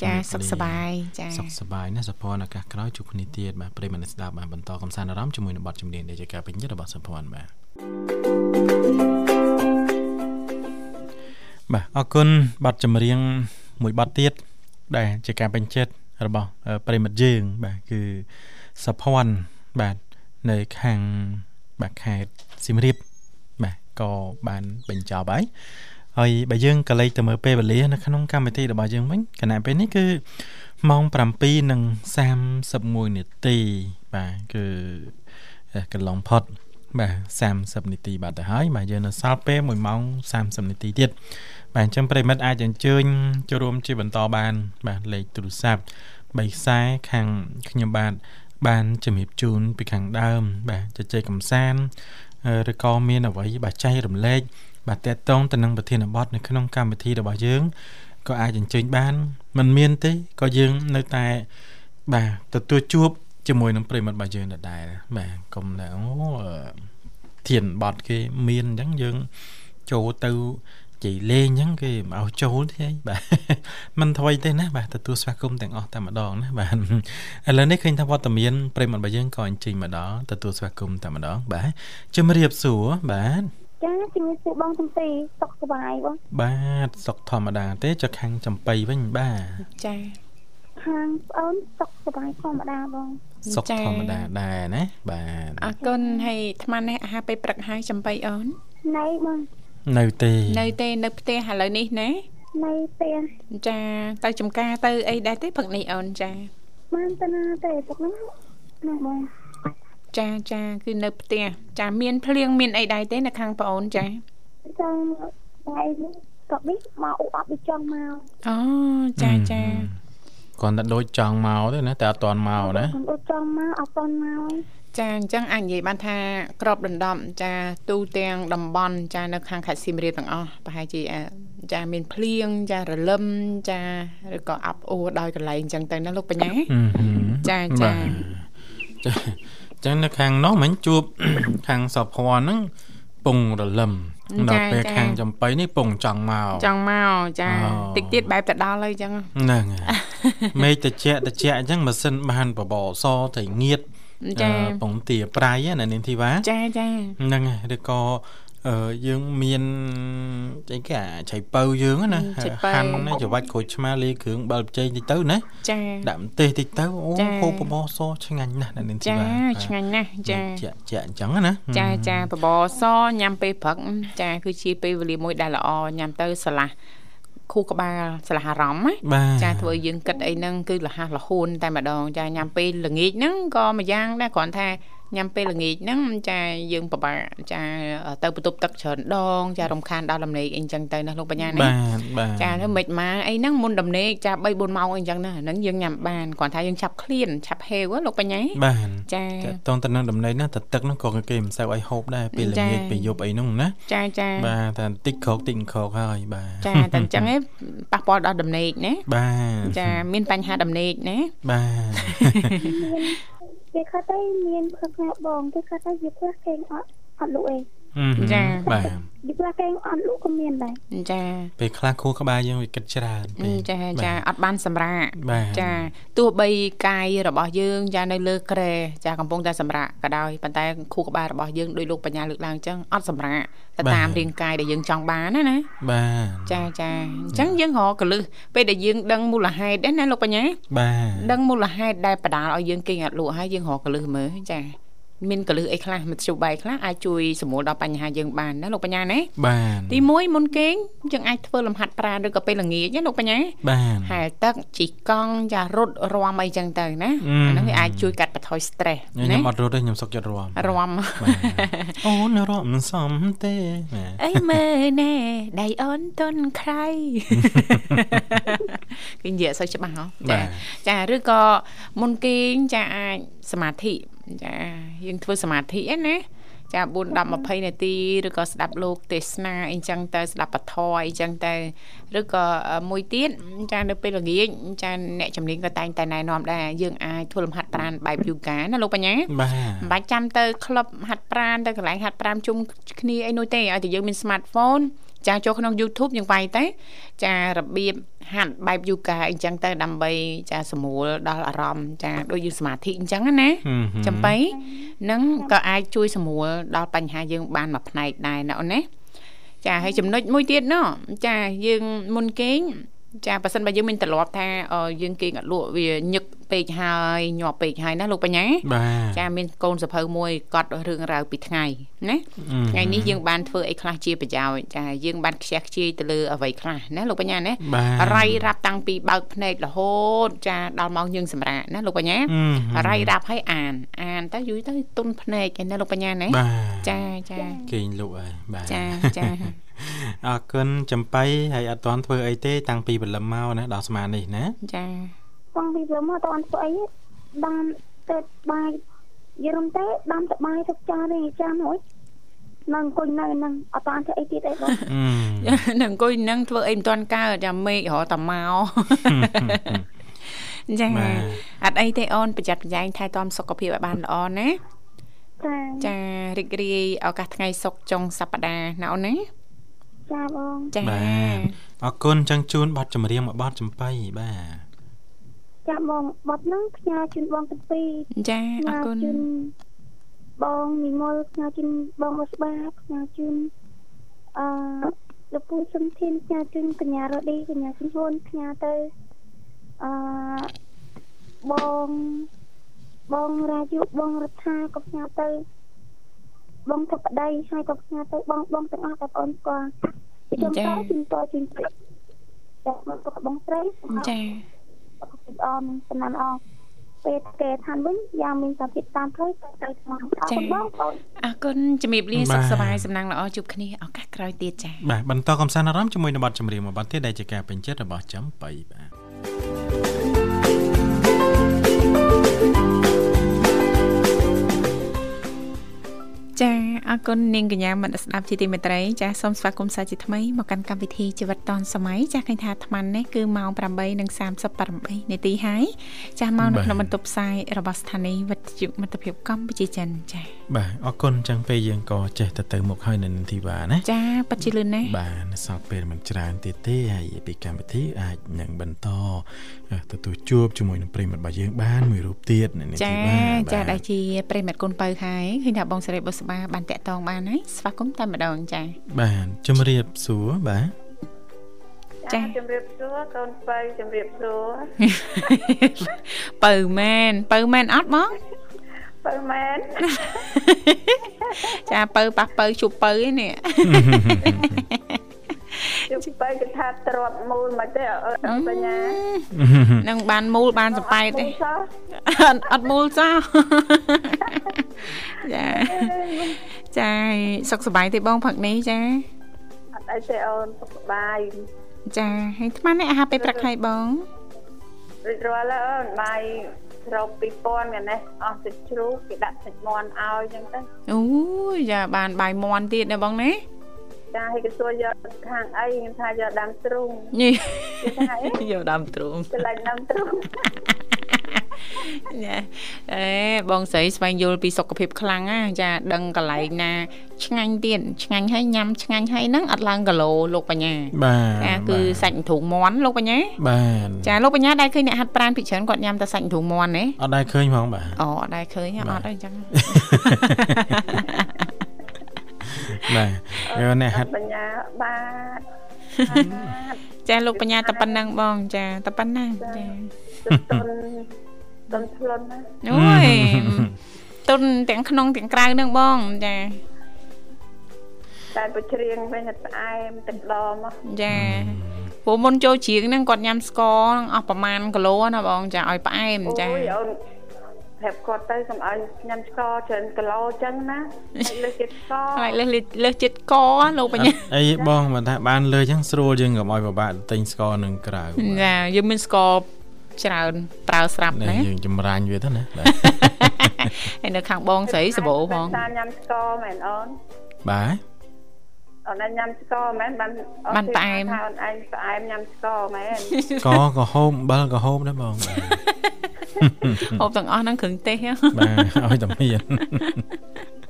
ចាសុខសប្បាយចា
សុខសប្បាយណាស់សុភ័ណ្ឌឱកាសក្រោយជួបគ្នាទៀតបាទប្រិយមិត្តអ្នកស្ដាប់បានបន្តកំសាន្តអារម្មណ៍ជាមួយនឹងបទចម្រៀងដែលជាការពេញចិត្តរបស់សុភ័ណ្ឌបាទបាទអរគុណបទចម្រៀងមួយបទទៀតដែលជាការពេញចិត្តរបស់អឺប្រិយមិត្តយើងបាទគឺសុភ័ណ្ឌបាទនៅខាងបាទខេត្តសៀមរាប បាទក៏បានបញ្ចប់ហើយហើយបើយើងក៏លេខទៅមើលពេលវេលានៅក្នុងកម្មវិធីរបស់យើងវិញគណៈពេលនេះគឺម៉ោង7:31នាទីបាទគឺអេកន្លងផុតបាទ30នាទីបាត់ទៅហើយបាទយើងនៅសល់ពេល1ម៉ោង30នាទីទៀតបាទអញ្ចឹងប្រិយមិត្តអាចអញ្ជើញចូលរួមជាបន្តបាន បាទលេខទូរស័ព្ទ3ខ្សែខាងខ្ញុំបាទបានជំរាបជូនពីខាងដើម បាទជជែកកំសាន្ត ឬក៏មានអ្វីបាទចែករំលែកបាទតេតងទៅនឹងប្រធានបទនៅក្នុងកម្មវិធីរបស់យើងក៏អាចអញ្ជើញបានมันមានទេក៏យើងនៅតែបាទទទួលជួបជាមួយនឹងប្រិយមិត្តរបស់យើងដដែលបាទកុំតែអូអឺធានបទគេមានអញ្ចឹងយើងចូលទៅជ័យលេងអញ្ចឹងគេមិនឲ្យចូលទេហើយ បាទ ມັນថ្មីទេណាបាទទទួលស្វាគមន៍ទាំងអស់តែម្ដងណា បាទឥឡូវនេះឃើញថាវត្តមានប្រិយមិត្តរបស់យើងក៏អញ្ជើញមកដល់ទទួលស្វាគមន៍តែម្ដងបាទ ជំរាបសួរបាទ
ចាជំរាបសួរបងសំទីសុខសប្បាយបង
បាទសុខធម្មតាទេចុះខាងចំបៃវិញបាទ
ចា
ខាងប្អូនសុខសប្បាយធម្មតាបង
សុខធម្មតាដែរណាបាទ
អរគុណហើយអាត្មានេះអាហារពេលព្រឹកហើយចំបៃអូន
ណៃបង
នៅទេ
នៅទេនៅផ្ទះឥឡូវនេះណា
ណៃផ្ទះ
ចាទៅចំការទៅអីដែរទេព្រឹកនេះអូនចា
បានទៅណាទេទឹកហ្នឹងណាបង
ចាចាគឺនៅផ្ទះចាមានភ្លៀងមានអីដែរទេនៅខាងប្អូនចា
ចាំថ្ងៃនេះក៏នេះមកអ៊ូអត់ដូចចង់មក
អូចាចា
គ្រាន់តែដូចចង់មកទេណាតែអត់ទាន់មកណា
ខ្ញុំដូចចង់មកអត់ទាន់មក
ចាអញ្ចឹងអាចនិយាយបានថាក្របដណ្ដំចាទូទាំងតំបន់ចានៅខាងខេត្តសៀមរាបទាំងអស់ប្រហែលជាអ่าចាមានភ្លៀងចារលឹមចាឬក៏អាប់អួរដោយកន្លែងអញ្ចឹងទៅណាលោកបញ្ញា
អឺហឹម
ចាចា
បាទចាចឹងនៅខាងនោះមិញជួប ខាងសពភ័ណ្ឌហ្នឹងពងរលឹមដល់ពេលខាងចំបៃនេះពងចង់មក
ចង់មកចា
អូ
តិចទៀតបែបទៅដល់ហើយអញ្ចឹង
ហ្នឹងហើយ មេឃតិចតិចអញ្ចឹងម៉ាស៊ីនបានបបោសតែងៀត
ចា
អឺពងទាប្រៃណានាងធីវ៉ា
ចាចា
ហ្នឹងហើយឬក៏អឺយើងមាន អីគេអាឆៃប៉ៅយើងហ្នឹងណា
ឆៃប៉ៅ
ហាន់ណាច្របាច់ក្រូចឆ្មាលាយគ្រឿងបិលបច្ចេកតិចទៅណា
ចា៎
ដាក់ម្ទេសតិចទៅអូ
ចា
ហូបបបរសឆ្ងាញ់ណាស់អ្នកនាងធី
ចា
បា
ឆ្ងាញ់ណាស់ចា
ជាក់ជាក់អញ្ចឹងណា
ចាចាបបរសញ៉ាំពេលព្រឹកចាគឺជាពេលវេលាមួយដែលល្អញ៉ាំទៅស្រឡះខួរក្បាលស្រឡះអារម្មណ៍ណា
បាទ
ចាធ្វើឲ្យយើងគិតអីហ្នឹងគឺលះហះលហួនតែម្ដងចាញ៉ាំពេលល្ងាចហ្នឹងក៏មួយយ៉ាងដែរគ្រាន់ថាញ៉ាំពេលល្ងាចហ្នឹងចាយើងពិបាកចាទៅបន្ទប់ទឹកច្រើនដងចារំខានដល់លំនេកអីចឹងទៅណាលោកបញ្ញាណា
បាទបាទ
ចាទៅមិនម៉ាអីហ្នឹងមុនដំណេកចា3 4ម៉ោងអីចឹងណាហ្នឹងយើងញ៉ាំបានគ្រាន់ថាយើងឆាប់ឃ្លានឆាប់ហេវហ៎លោកបញ្ញា
បាទ
ចា
តើតងតនឹងដំណេកណាតើទឹកហ្នឹងក៏គេមិនសូវឲ្យហូបដែរពេលល្ងាច
ចា
ពេលយប់អីហ្នឹងណា
ចាចា
បាទតែបន្តិចក្រោកបន្តិចក្រោកហើយបាទ
ចាតែអញ្ចឹងឯងប៉ះពាល់ដល់ដំណេកណា
បាទ
ចាមានបញ្ហាដំណេកណា
បាទ
គេគាត់តែមានផ្លឹកណាបងគេគាត់តែយីផ្លាស់គេងអត់អត់លក់ឯង
បាទ
យីផ្លាស់គេងអត់លក់ក៏មានដែរ
ចា
ពេលខ្លះខួរក្បាលយើងវាគិតច្រើនពេក
ចាចា
បាទ
អត់បានសម្រាក
បាទ
ចាទោះបីកាយរបស់យើងចានៅលើក្រែចាកំពុងតែសម្រាកក៏ដោយប៉ុន្តែខួរក្បាលរបស់យើងដោយលោកបញ្ញាលើកឡើងអញ្ចឹងអត់សម្រាកទៅតាមរាងកាយដែលយើងចង់បានណាណា
បាទ
ចាចាអញ្ចឹងយើងរកកលឹះពេលដែលយើងដឹងមូលហេតុណាណាលោកបញ្ញា
បាទ
ដឹងមូលហេតុដែលបដាលឲ្យយើងគេងអត់លក់ហើយយើងរកកលឹះមើលចាមានកលឹះអីខ្លះមធ្យោបាយខ្លះអាចជួយសម្រួលដល់បញ្ហាយើងបានណាលោកបញ្ញាណា
បាទ
ទី1មុនគេងយើងអាចធ្វើលំហាត់ប្រាណឬក៏ពេលល្ងាចណាលោកបញ្ញា
បាទ
ហែលទឹកជីកកង់ចារត់រាំអីចឹងទៅណា
អ
អា
ឺ
ហ្នឹងវាអាចជួយកាត់បន្ថយ stress ណា
ខ្ញុំអត់រត់ទេខ្ញុំសុកចិត្តរាំ
រាំ
អូនរាំមិនសមទេណា
អីមើលណែដៃអូនទុនក្រៃ គេនិយាយអត់សូវច្បាស់ហ៎ចា
បាទ
ចាឬក៏មុនគេងចាអាចសមាធិចាយើងធ្វើសមាធិឯណាចា4 10 20នាទីឬក៏ស្ដាប់លោកទេសនាអីចឹងទៅស្ដាប់បទធម៌អីចឹងទៅឬក៏មួយទៀតចានៅពេលល្ងាចចាអ្នកជំនាញក៏តែងតែណែនាំដែរយើងអាចធ្វើលំហាត់ប្រាណបែបយូហ្គាណាលោកបញ្ញា
បាទ
មិនបាច់ចាំទៅក្លឹបហាត់ប្រាណទៅកន្លែងហាត់ប្រាណជុំគ្នាអីនោះទេឲ្យតែយើងមាន smartphone ចាចូលក្នុង YouTube យើងវាយទៅចារបៀបហាត់បែប yoga អីចឹងទៅដើម្បីចាសម្រួលដល់អារម្មណ៍ចាដូចយើងសមាធិអញ្ចឹងណាចំបៃនឹងក៏អាចជួយសម្រួលដល់បញ្ហាយើងបានមួយផ្នែកដែរណ៎អូនណាចាហើយចំណុចមួយទៀតណ៎ចាយើងមុនគេងចាប៉ះសិនបើយើងមានទម្លាប់ថាអឺយើងគេងអត់លក់វាញឹកពេកហើយញាប់ពេកហើយណាលោកបញ្ញា
បាទ
ចាមានកូនសភៅមួយកត់រឿងរ៉ាវពីថ្ងៃណាថ្ងៃនេះយើងបានធ្វើអីខ្លះជាប្រយោជន៍ចាយើងបានខ្ជះខ្ជាយទៅលើអ្វីខ្លះណាលោកបញ្ញាណា
បាទ
រៃរាប់តាំងពីបើកភ្នែករហូតចាដល់ម៉ោងយើងសម្រាកណាលោកបញ្ញារៃរាប់ឲ្យអាន អានទៅយូរទៅទុនភ្នែកឯណាលោកបញ្ញាណា
បាទ
ចាចា
គេងលក់ហើយបាទ
ចាចា
អរគុណចំបៃហើយអត់ទាន់ធ្វើអីទេតាំងពីព្រលឹមមកណាដល់ស្មាននេះណា
ចា
ផងពីព្រោះមកតអត់ធ្វើអីទេដាំទៅបាយយរំទៅដាំទៅបាយទឹកចាននេះចាំហួយនៅអង្គុយនៅហ្នឹងអត់តធ្វើអីទៀតទេបង
នឹងអង្គុយនឹងធ្វើអីមិនទាន់កើតចាមេឃរហត់តែមកចា
បាទ
អត់អីទេអូនប្រយ័ត្នប្រយែងថែទាំសុខភាពឲ្យបានល្អណា
ចា
ចារីករាយឱកាសថ្ងៃសុខចុងសប្តាហ៍ណ៎អូនណា
ចាបង
ចា
បាទអរគុណចឹងជូនប័ណ្ណចម្រៀងមួយប័ណ្ណចំបៃបាទ
ចាបងបត់ហ្នឹងផ្ញើជូនបងទាំងពីរ
ចាអរ
ផ្ញើ
គុណ
ជូនបងនិមលផ្ញើជូនបងរស្បាផ្ញើជូនអឺលោកពូសុនធានផ្ញើជូនកញ្ញារឌីកញ្ញាសុនហ៊ុនផ្ញើទៅអឺបងបងរាជយុបងរដ្ឋាក៏ផ្ញើទៅ បងធបដីហើយក៏ផ្ញើទៅបងបងទាំងអស់បងប្អូនស្គាល់ជូនតជូនតជូនព្រឹកចាបងប្អូនបងស្រីសូមអរ
ចា
អរនឹងសំណានអរពេលគេឋានវិញយ៉ាងមានសាភិតតាមផ្លូវទៅទៅស្មោះអរបងបង
អរគុណជំរាបលា
បា
សុ
ទ
ខសប្បាយសំណាងល្អជួបគ្នាឱកាសក្រោយទៀតចា
បាទបន្តកំសាន្តអារម្មណ៍ជាមួយនឹងបទចម្រៀងមួយបទទៀតដែលជាការពេញចិត្តរបស់ចំបៃបាទ
ចាអរគុណនាងកញ្ញាមិត្តស្ដាប់ជាទីមេត្រីចាសូមស្វាគមន៍សាជាថ្មីមកកាន់កម្មវិធីជីវិតឌុនសម័យចាឃើញថាអាត្មានេះគឺម៉ោង8:38នាទីហើយចាមកនៅក្នុងបន្ទប់ផ្សាយរបស់ស្ថានីយ៍វិទ្យុមិត្តភាពកម្ពុជាចិនចា
បាទអរគុណចឹងពេលយើងក៏ចេះទៅទៅមុខហើយនៅនឹងធីវ៉ាណា
ចាប៉ັດជាលឿនណាស់
បាទនៅសល់ពេលមិនច្រើនទៀតទេហើយពីកម្មវិធីអាចនឹងបន្តទទួលជួបជាមួយនឹងប្រិយមិត្តរបស់យើងបានមួយរូបទៀតនៅនឹង
ចា
ធីវ៉ា
ចា
បាទ
ដែលជាប្រិមិត្តកូនបើហើយឃើញថាបងសេរីបុស្បាបានតាក់
ក់តងបានហើយស្វាគមន៍តែម្ដងចា
បាទជំរាបសួរ បាទ
ចា៎
ជំរាបសួរកូនស្រីជំរាបសួរ
បើមែនបើមែនអត់បង
បើមែន
ចាបើប៉ះបើជួបបើឯនេះ
ជុំបីគេថាទ្របមូលមកទេ អត់បញ្ញា
នឹងបានមូលបានសប៉ែតទេ
អត់
អត់អត់មូលចោល ចាចាសុខសប្បាយទេបងផឹកនេះចា
អីទេអូនសុខសប្បាយ
ចាហើយអាត្មានេះអាហារពេលព្រឹកហើយបង
រីករាល់ហើយអូនបាយស្រូប2000យ៉ាងនេះអស់សាច់ជ្រូកគេដាក់សាច់មាន់ឲ្យអញ្ចឹងទៅ
អូយយ៉ាបានបាយមន់ទៀតណាបងណា
ចាឲ្យគេសួរយកខាងអីខ្ញុំថាយកដាំទ្រូង
នេះ
គេថាអី
យកដើមទ្រូង
ចលាញ់ដាំទ្រូង
ចាអេបងស្រីស្វែងយល់ពីសុខភាពខ្លាំងណាចាដឹងកន្លែងណា ឆ្ងាញ់ទៀតឆ្ងាញ់ហើយញ៉ាំឆ្ងាញ់ហើយហ្នឹងអត់ឡើងគីឡូលោកបញ្ញា
បាទ
ចាគឺសាច់ទ្រូងមន់លោកបញ្ញា
បាទ
ចាលោកបញ្ញាដែរឃើញអ្នកហាត់ប្រានពីច្រើនគាត់ញ៉ាំតែសាច់ទ្រូងមន់ទេ
អត់ដែរឃើញហ្មង បាទ
អូអត់ដែរឃើញហ៎អត់អីចឹង
បាទយកអ្នកហាត់
បញ្ញាបាទ
ចាលោកបញ្ញាតែប៉ុណ្ណឹងបងចាតែប៉ុណ្ណឹងចា
ទុំទុនទុំធ្លុនណា
អូយទុនទាំងក្នុងទាំងក្រៅហ្នឹងបងចា
តែបើច្រៀងវិញអត់ផ្អែមទឹកដមមក
ចា ព្រោះមុនចូលជ្រៀងហ្នឹងគាត់ញ៉ាំស្ករហ្នឹងអស់ប្រមាណគីឡូណាបងចាឲ្យផ្អែមចា
អូយអូនប្រាប់គាត់ទៅកុំឲ្យញ៉ាំឆ្កច្រើនគីឡូអញ្ចឹង ណាឲ្យលើសទៀតឆ្ក
ខ្លាចលើសលើសចិត្តកលោក បញ្ញា
អីបងបើថាបានលើចឹងស្រួលយើងកុំឲ្យពិបាកទិញស្ករនឹងក្រៅ
ចាយើងមានស្ករច្រើនប្រើស្រាប់
ណា
ណា
យើងចម្រាញ់វាទៅ ណាបាទ
ហើយនៅខាងបងស្រីសបោផ ង
តែញ៉ាំឆ្កមែនអូន
បាទ
អូនឯងញ៉ាំឆ្កមែនបាន
បានផ្អែម
ថាអូនឯងផ្អែមញ៉ាំឆ្កមែ ន
កក៏ហូបអំបិលក៏ហូបដែរបង
ហូបទាំងអស់ហ្នឹងគ្រឿងទេសហ៎
បាទឲ្យតែមាន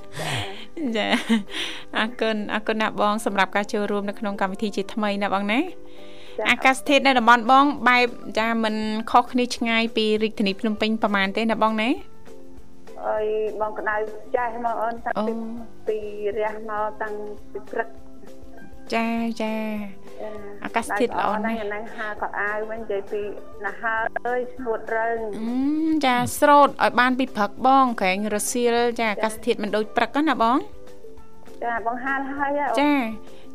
ចាអរគុណអរគុណណាស់បងសម្រាប់ការចូលរួមនៅក្នុងកម្មវិធីជាថ្មីណាបងណាអាកាសធាតុនៅតំបន់បងបែបចាមិនខុសគ្នាឆ្ងាយពីរាជធានីភ្នំពេញប្រហែលទេណាបងណា
អើយបងក្តៅចាស់មកអូនតាំងពី
អូ
ពីរះមកតាំងពីព្រឹក
ចាចាអាកាសធាតុល្អណាស់
ស់ហ្នឹងហើក៏អាវវិញនិយាយពីណាហើអើយស្ងួតរើង
អឺមចាស្រោតឲ្យបានពីព្រឹកបងក្រែងរសៀលចាអាកាសធាតុមិនដូចព្រឹកហ្នឹងណាបង
ចាបងហាលហើយហ៎អូន
ចា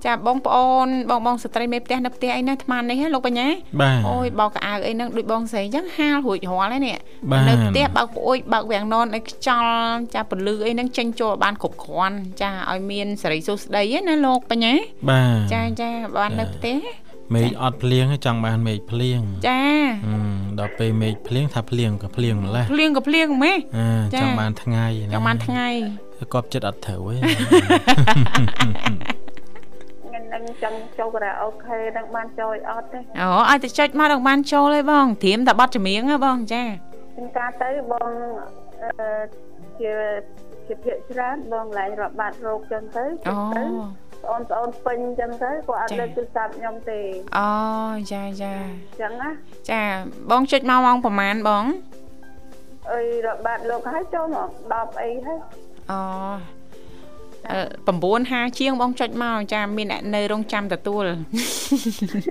ចាបងប្អូនបងបងស្ត្រីមេផ្ទះនៅផ្ទះអីណាអាត្មាននេះហ៎លោកបញ្ញា
បាទ
អូយបោកកៅអៅអីហ្នឹងដូចបងស្រីអញ្ចឹងហាលរួចរាល់ហើយនេះ
បាទ
នៅផ្ទះបើកប្អួយបើកវាំងននឲ្យខ្យល់ចាពន្លឺអីហ្នឹងចេញចូលឲ្យបានគ្រប់គ្រាន់ចាឲ្យមានសេរីសុខស្ដីហ្នឹងណាលោកបញ្ញា
បាទ
ចាចាបាននៅផ្ទះ
មេឃអត់ភ្លៀងទេចង់បានមេឃភ្លៀង
ចា
ហឹមដល់ពេលមេឃភ្លៀងថាភ្លៀងក៏ភ្លៀងម្លេះ
ភ្លៀងក៏ភ្លៀងម៉េះ
អា
ចា
ចង់បានថ្ងៃណា
ចង់បានថ្ងៃ
គប់ចិត្តអត់ត្រូវទេ
ថ្ងៃហ្នឹងចង់ចូលការ៉ាអូខេនឹងបានចូលអត់ទេ
អូឲ្យតែចុចមកដល់បានចូលហើយបងត្រៀមតែប័ណ្ណចម្រៀងហ៎បងចា
ជាងការទៅបងអឺជាជាភាកច្រើនបងឡែងរាប់បាត់រោគចឹងទៅ
អូ
ជិះទៅបងប្អូនពេញចឹងទៅគាត់អត់លើកទូរស័ព្ទខ្ញុំទេ
អូយ៉ាយ៉ា
ចឹងណា
ចាបងចុចមកម៉ោងប្រហែលបង
អើយរាប់បាត់លោកហើយចូលមក10អីហើយ
អូអឺ9:50ជាងបងចុចមកចាមានអ្នកនៅរងចាំទទួល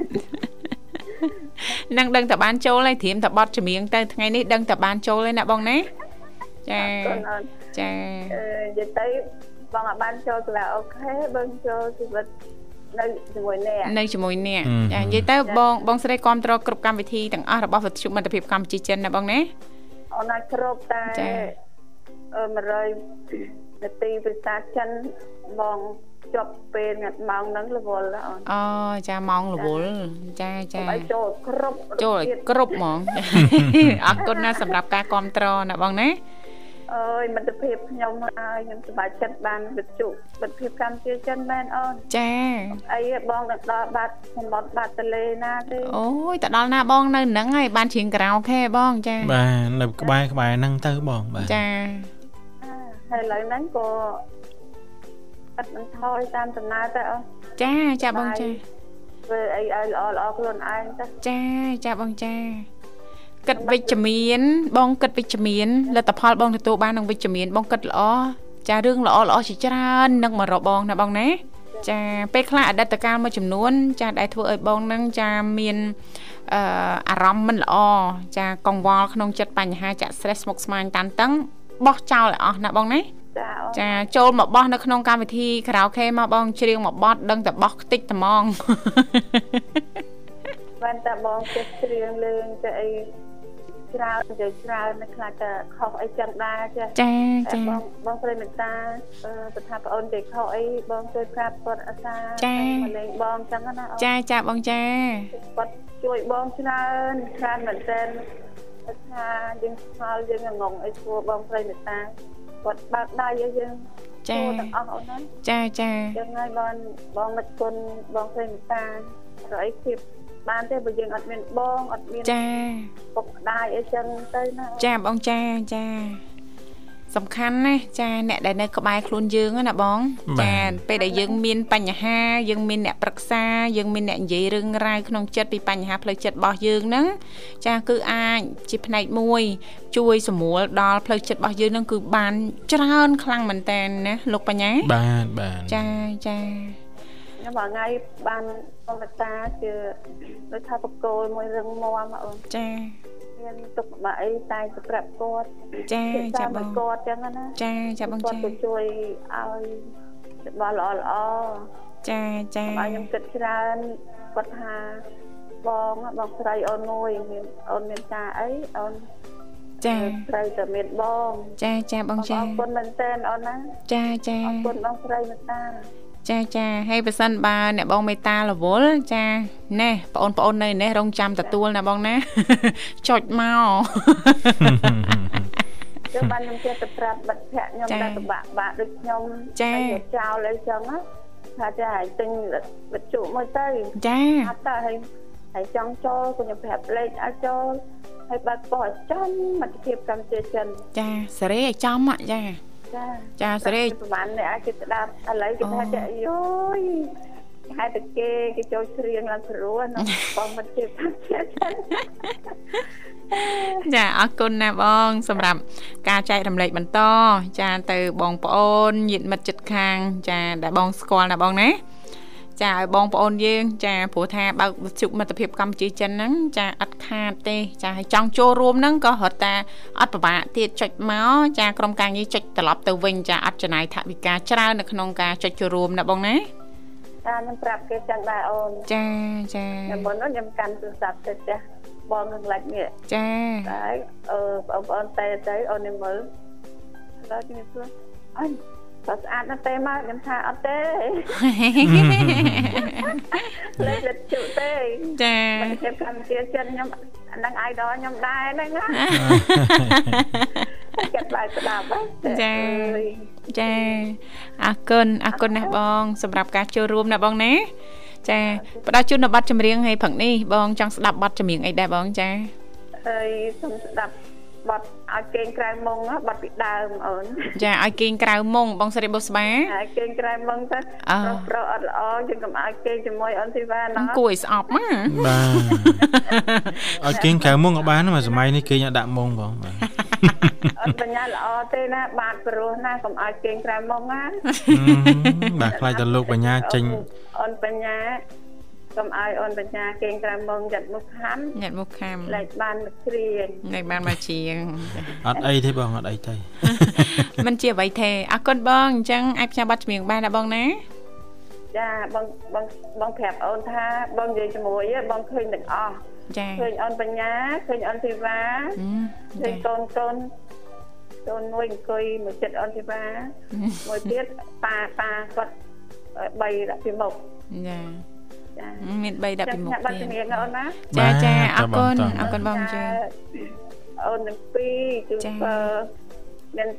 នឹងដឹងតែបានចូលហើយត្រៀមតែប័ណ្ណចម្រៀងទៅថ្ងៃនេះដឹងតែបានចូលហើយណាបងណាចា
អត់អត់
ចា
អឺនិយាយទៅបងអត់បានចូលការ៉ាអូខេបងចូលជីវិតនៅជាមួយអ្នក
នៅជាមួយអ្នក
ហឹម
ចានិយាយទៅបងបងស្រីគ្រប់គ្រងគ្រប់កម្មវិធីទាំងអស់របស់វិទ្យុមិត្តភាពកម្ពុជាចិនណាបងណា
អូនអាចគ្រប់តែ
ចា
អឺ100នាទីភាសាចិនបងជាប់ពេលងាត់ម៉ោងហ្នឹងរវល់ណាស់អូន
អូចាម៉ោងរវល់ចាចា
ឲ្យចូលគ្រប់
ចូលឲ្យ
ទៀត
គ្រប់ហ្ម ង អរគុណណាស់សម្រាប់ការគ្រប់គ្រងណាបងណា
អើយមិត្តភាពខ្ញុំហើយខ្ញុំសប្បាយចិត្តបានវិទ្យុមិត្តភាពកម្ពុជាចិនមែនអូន
ចា
អីបងទៅដល់បាត់សមុទ្របាត់ទន្លេណាទេ
អូយទៅដល់ណាបងនៅហ្នឹងហើយបានជិងក្រៅខេបងចា
បាទនៅក្បែរក្បែរហ្នឹងទៅបងបាទ
ចា
ហើយឥឡូវហ្នឹងក៏អត់បន្ថយតាមដំណើរទៅអូន
ចាចាបងចា
ធ្វើអីឲ្យល្អល្អខ្លួនឯងទៅ
ចាចាបងចាគិតវិជ្ជមាន បងគិតវិជ្ជមានលទ្ធផលបងទទួលបាននឹងវិជ្ជមានបងគិតល្អ ចារឿងល្អល្អជាច្រើននឹងមករកបងណាបងណាចាពេលខ្លះអតីតកាលមួយចំនួន ចាដែលធ្វើឲ្យបងនឹងចាមានអឺអារម្មណ៍មិនល្អចាកង្វល់ក្នុងចិត្តបញ្ហាចាក់ stress ស្មុគស្មាញតានតឹងបោះចោលឲ្យអស់ណាបងណា
ចាអូន
ចាចូលមកបោះនៅក្នុងកម្មវិធី karaoke មកបងច្រៀងមកបត់ដឹងតែបោះខ្ទេចត្មង
បានតែបងចេះច្រៀងលេងចេះអីច្រើននិយាយច្រើននៅខ្លះតែខុសអីចឹងដែរចេះ
ចា
តែ
ចា
បងបងព្រៃមេត្តាអឺប្រថាប្អូននិយាយខុសអីបងជួយប្រាប់គាត់អាសាមកលេងបងចឹងណាអូន
ចាចាបងចា
គាត់ជួយបងច្រើនច្រើនមែនទែនគាត់ថាយើងស្គាល់យើងងងអីធ្វើបងព្រៃមេត្តាគាត់បើកដៃឲ្យយើង
ចា
ចូលទាំងអស់អូនណា
ចាចា
ចឹងហើយបងបងមិនគុណបងព្រៃមេត្តារកអីទៀតបានទេបើយើងអត់មានបងអត់មាន
ចា
ពុកម្ដាយអីចឹងទៅណាអូន
ចាបងចាចាសំខាន់ណាស់ចាអ្នកដែលនៅក្បែរខ្លួនយើងហ្នឹងណាបង
បាទ
ពេលដែលយើងមានបញ្ហាយើងមានអ្នកប្រឹក្សាយើងមានអ្នកនិយាយរឿងរ៉ាវក្នុងចិត្តពីបញ្ហាផ្លូវចិត្តរបស់យើងហ្នឹងចាគឺអាចជាផ្នែកមួយ ជួយសម្រួលដល់ផ្លូវចិត្តរបស់យើងហ្នឹងគឺបានច្រើនខ្លាំងមែនតើណាលោកបញ្ញា
បាទបាទ
ចាចា
ខ្ញុំមួយថ្ងៃបានបងមេត្តាជាដូចថាបកគោលមួយរឿងមមអូន
ចា
មានទុកមកអីតែទៅប្រាប់គាត់
ចា
ពិ
ចា
សា
ប
មក
ង
គាត់ចឹងណា
ចាចាបង
គាត់
ចា
ទៅជួយឲ្យរបស់ល្អល្អ
ចាចា
ៗឲ្យខ្ញុំគិតច្រើនគាត់ថាបងបងស្រីអូនមួយមានអូនមានតាអីអូន
ចា
ត្រូវតែមានបង
ចាចាបង
អ
ចា
រគុណមែនទែនអូនណា
ចាចា
អរគុណបងស្រីមេត្តា
ចាចាហើយបើសិនបើអ្នកបងមេតារវល់ចាណែបងប្អូននៅនេះរងចាំទទួលណាបងណា ចុចមក
ចឹងបានខ្ញុំចេះទៅប្រាប់មិត្តភក្តិខ្ញុំតែពិបាកពិបាកដូចខ្ញុំឲ្យចោលអីចឹងណាថាចាឲ្យទិញវត្ថុមួយទៅ
ចា
អត់ទៅហើយហើយចង់ចូលក៏ខ្ញុំប្រាប់លេខឲ្យចូលហើយបើកប៉ុស្តិ៍ចំមិត្តភាពកម្ពុជាចិន
ចាសេរីឲ្យចំអ่ะចា
ចា
ចាសេរី
ប្រហែលអ្នកអាចគេស្ដាប់ឥឡូវគេថា
អូ
ចាយោយហេតុតែគេគេចូល ច្រៀងឡើងព្រោះណា បងមិត្តភាពកម្ពុជាចិន
ចាអរគុណណាបង សម្រាប់ការចែករំលែកបន្ត ចាទៅបងប្អូនញាតិមិត្តជិតខាង ចាដែលបងស្គាល់ណាបងណាចាឲ្យបងប្អូនយើងចាព្រោះថាបើកវិទ្យុមិត្តភាពកម្ពុជាចិនហ្នឹងចាអត់ខាតទេ ចាហើយចង់ចូលរួមហ្នឹងក៏រត់តាអត់ពិបាកទៀតចុចមកចាក្រុមការងារចុចត្រឡប់ទៅវិញចាអត់ចំណាយថវិកាច្រើននៅក្នុងការចុចចូលរួមណាបងណា
ចាខ្ញុំប្រាប់គេចឹងដែរ អូន
ចាចា
ខ្ញុំមុននោះខ្ញុំកាន់ទូរស័ព្ទទៅចាស់បងនឹងឡាច់នេះ
ចា
ហើយអឺបងប្អូនតែទៅអូនខ្ញុំមើលដល់ខ្ញុំសួរអញបើស្អាតណាស់ទេមកខ្ញុំថាអត់ទេ លេខលិទ្ធជុទេ
ចា
មិត្តភាពកម្ពុជាចិនខ្ញុំអានឹង idol ខ្ញុំដែរហ្នឹងណាចិត្តឡើងស្ដាប់ហ្នឹង
ចា
អើយ
ចាអរគុណអរគុណណាស់បងសម្រាប់ការចូលរួមណាបងណាចាផ្ដល់ជូននៅប័ណ្ណចម្រៀងឲ្យព្រឹកនេះបងចង់ស្ដាប់ប័ណ្ណចម្រៀងអីដែរបងចា
អើយសូមស្ដាប់បទឲ្យគេងក្រៅមុងណាបទពីដើមអូន
ចាឲ្យគេងក្រៅមុងបងសេរីបុស្បា
ឲ្យគេងក្រៅមុងទៅ
អ่า
ប្រុសប្រុសអត់ល្អយើងកុំឲ្យគេងជាមួយអូនធីវ៉ា
អ
ណា
ងគួរឲ្យស្អប់ណា
បាទឲ្យគេងកៅមុងក៏ បានមកសម័យនេះគេងឲ្យដាក់មុងបងបាទ
អត់បញ្ញាល្អទេណា បាទព្រោះណាកុំឲ្យគេងក្រៅមុងណា
ហឹម បាទខ្លាចតែលោកបញ្ញាចេញ
អូនបញ្ញាកុំឲ្យអូនបញ្ញាគេងក្រៅមុងចិត្តមុខខំ
ញាត់មុខខាំ
លេចបានមកគ្រៀង
នៃបានមកជាង
អត់អីទេបងអត់អីទេ
ມັນជាអ្វីទេអរគុណបងអញ្ចឹងអាចផ្សាយប័ណ្ណចម្រៀងបានណាបងណា
ចាបងបងបងប្រាប់អូនថាបងនិយាយជាមួយឯងបងឃើញទាំងអស់
ចា
ឃើញអូនបញ្ញាឃើញអូនធីវ៉ា
ហឹម
ឃើ
ចា
ញកូនកូនកូនមួយអង្គុយមួយចិត្តអូនធីវ៉ាមួយទៀតប៉ាប៉ាគាត់3ដាក់ពីមុខ
ចា
ចា
មាន3ដាក់
ចាំ
ពីមុខ
ខ្ញុំបាត់
ទៀត
ជំនាញណាអូនណា
ចាចាអ
បាទ
រគុណ
ត
អរគុណបងចា
អូនទាំងពីរ
ចា
ជួបមាន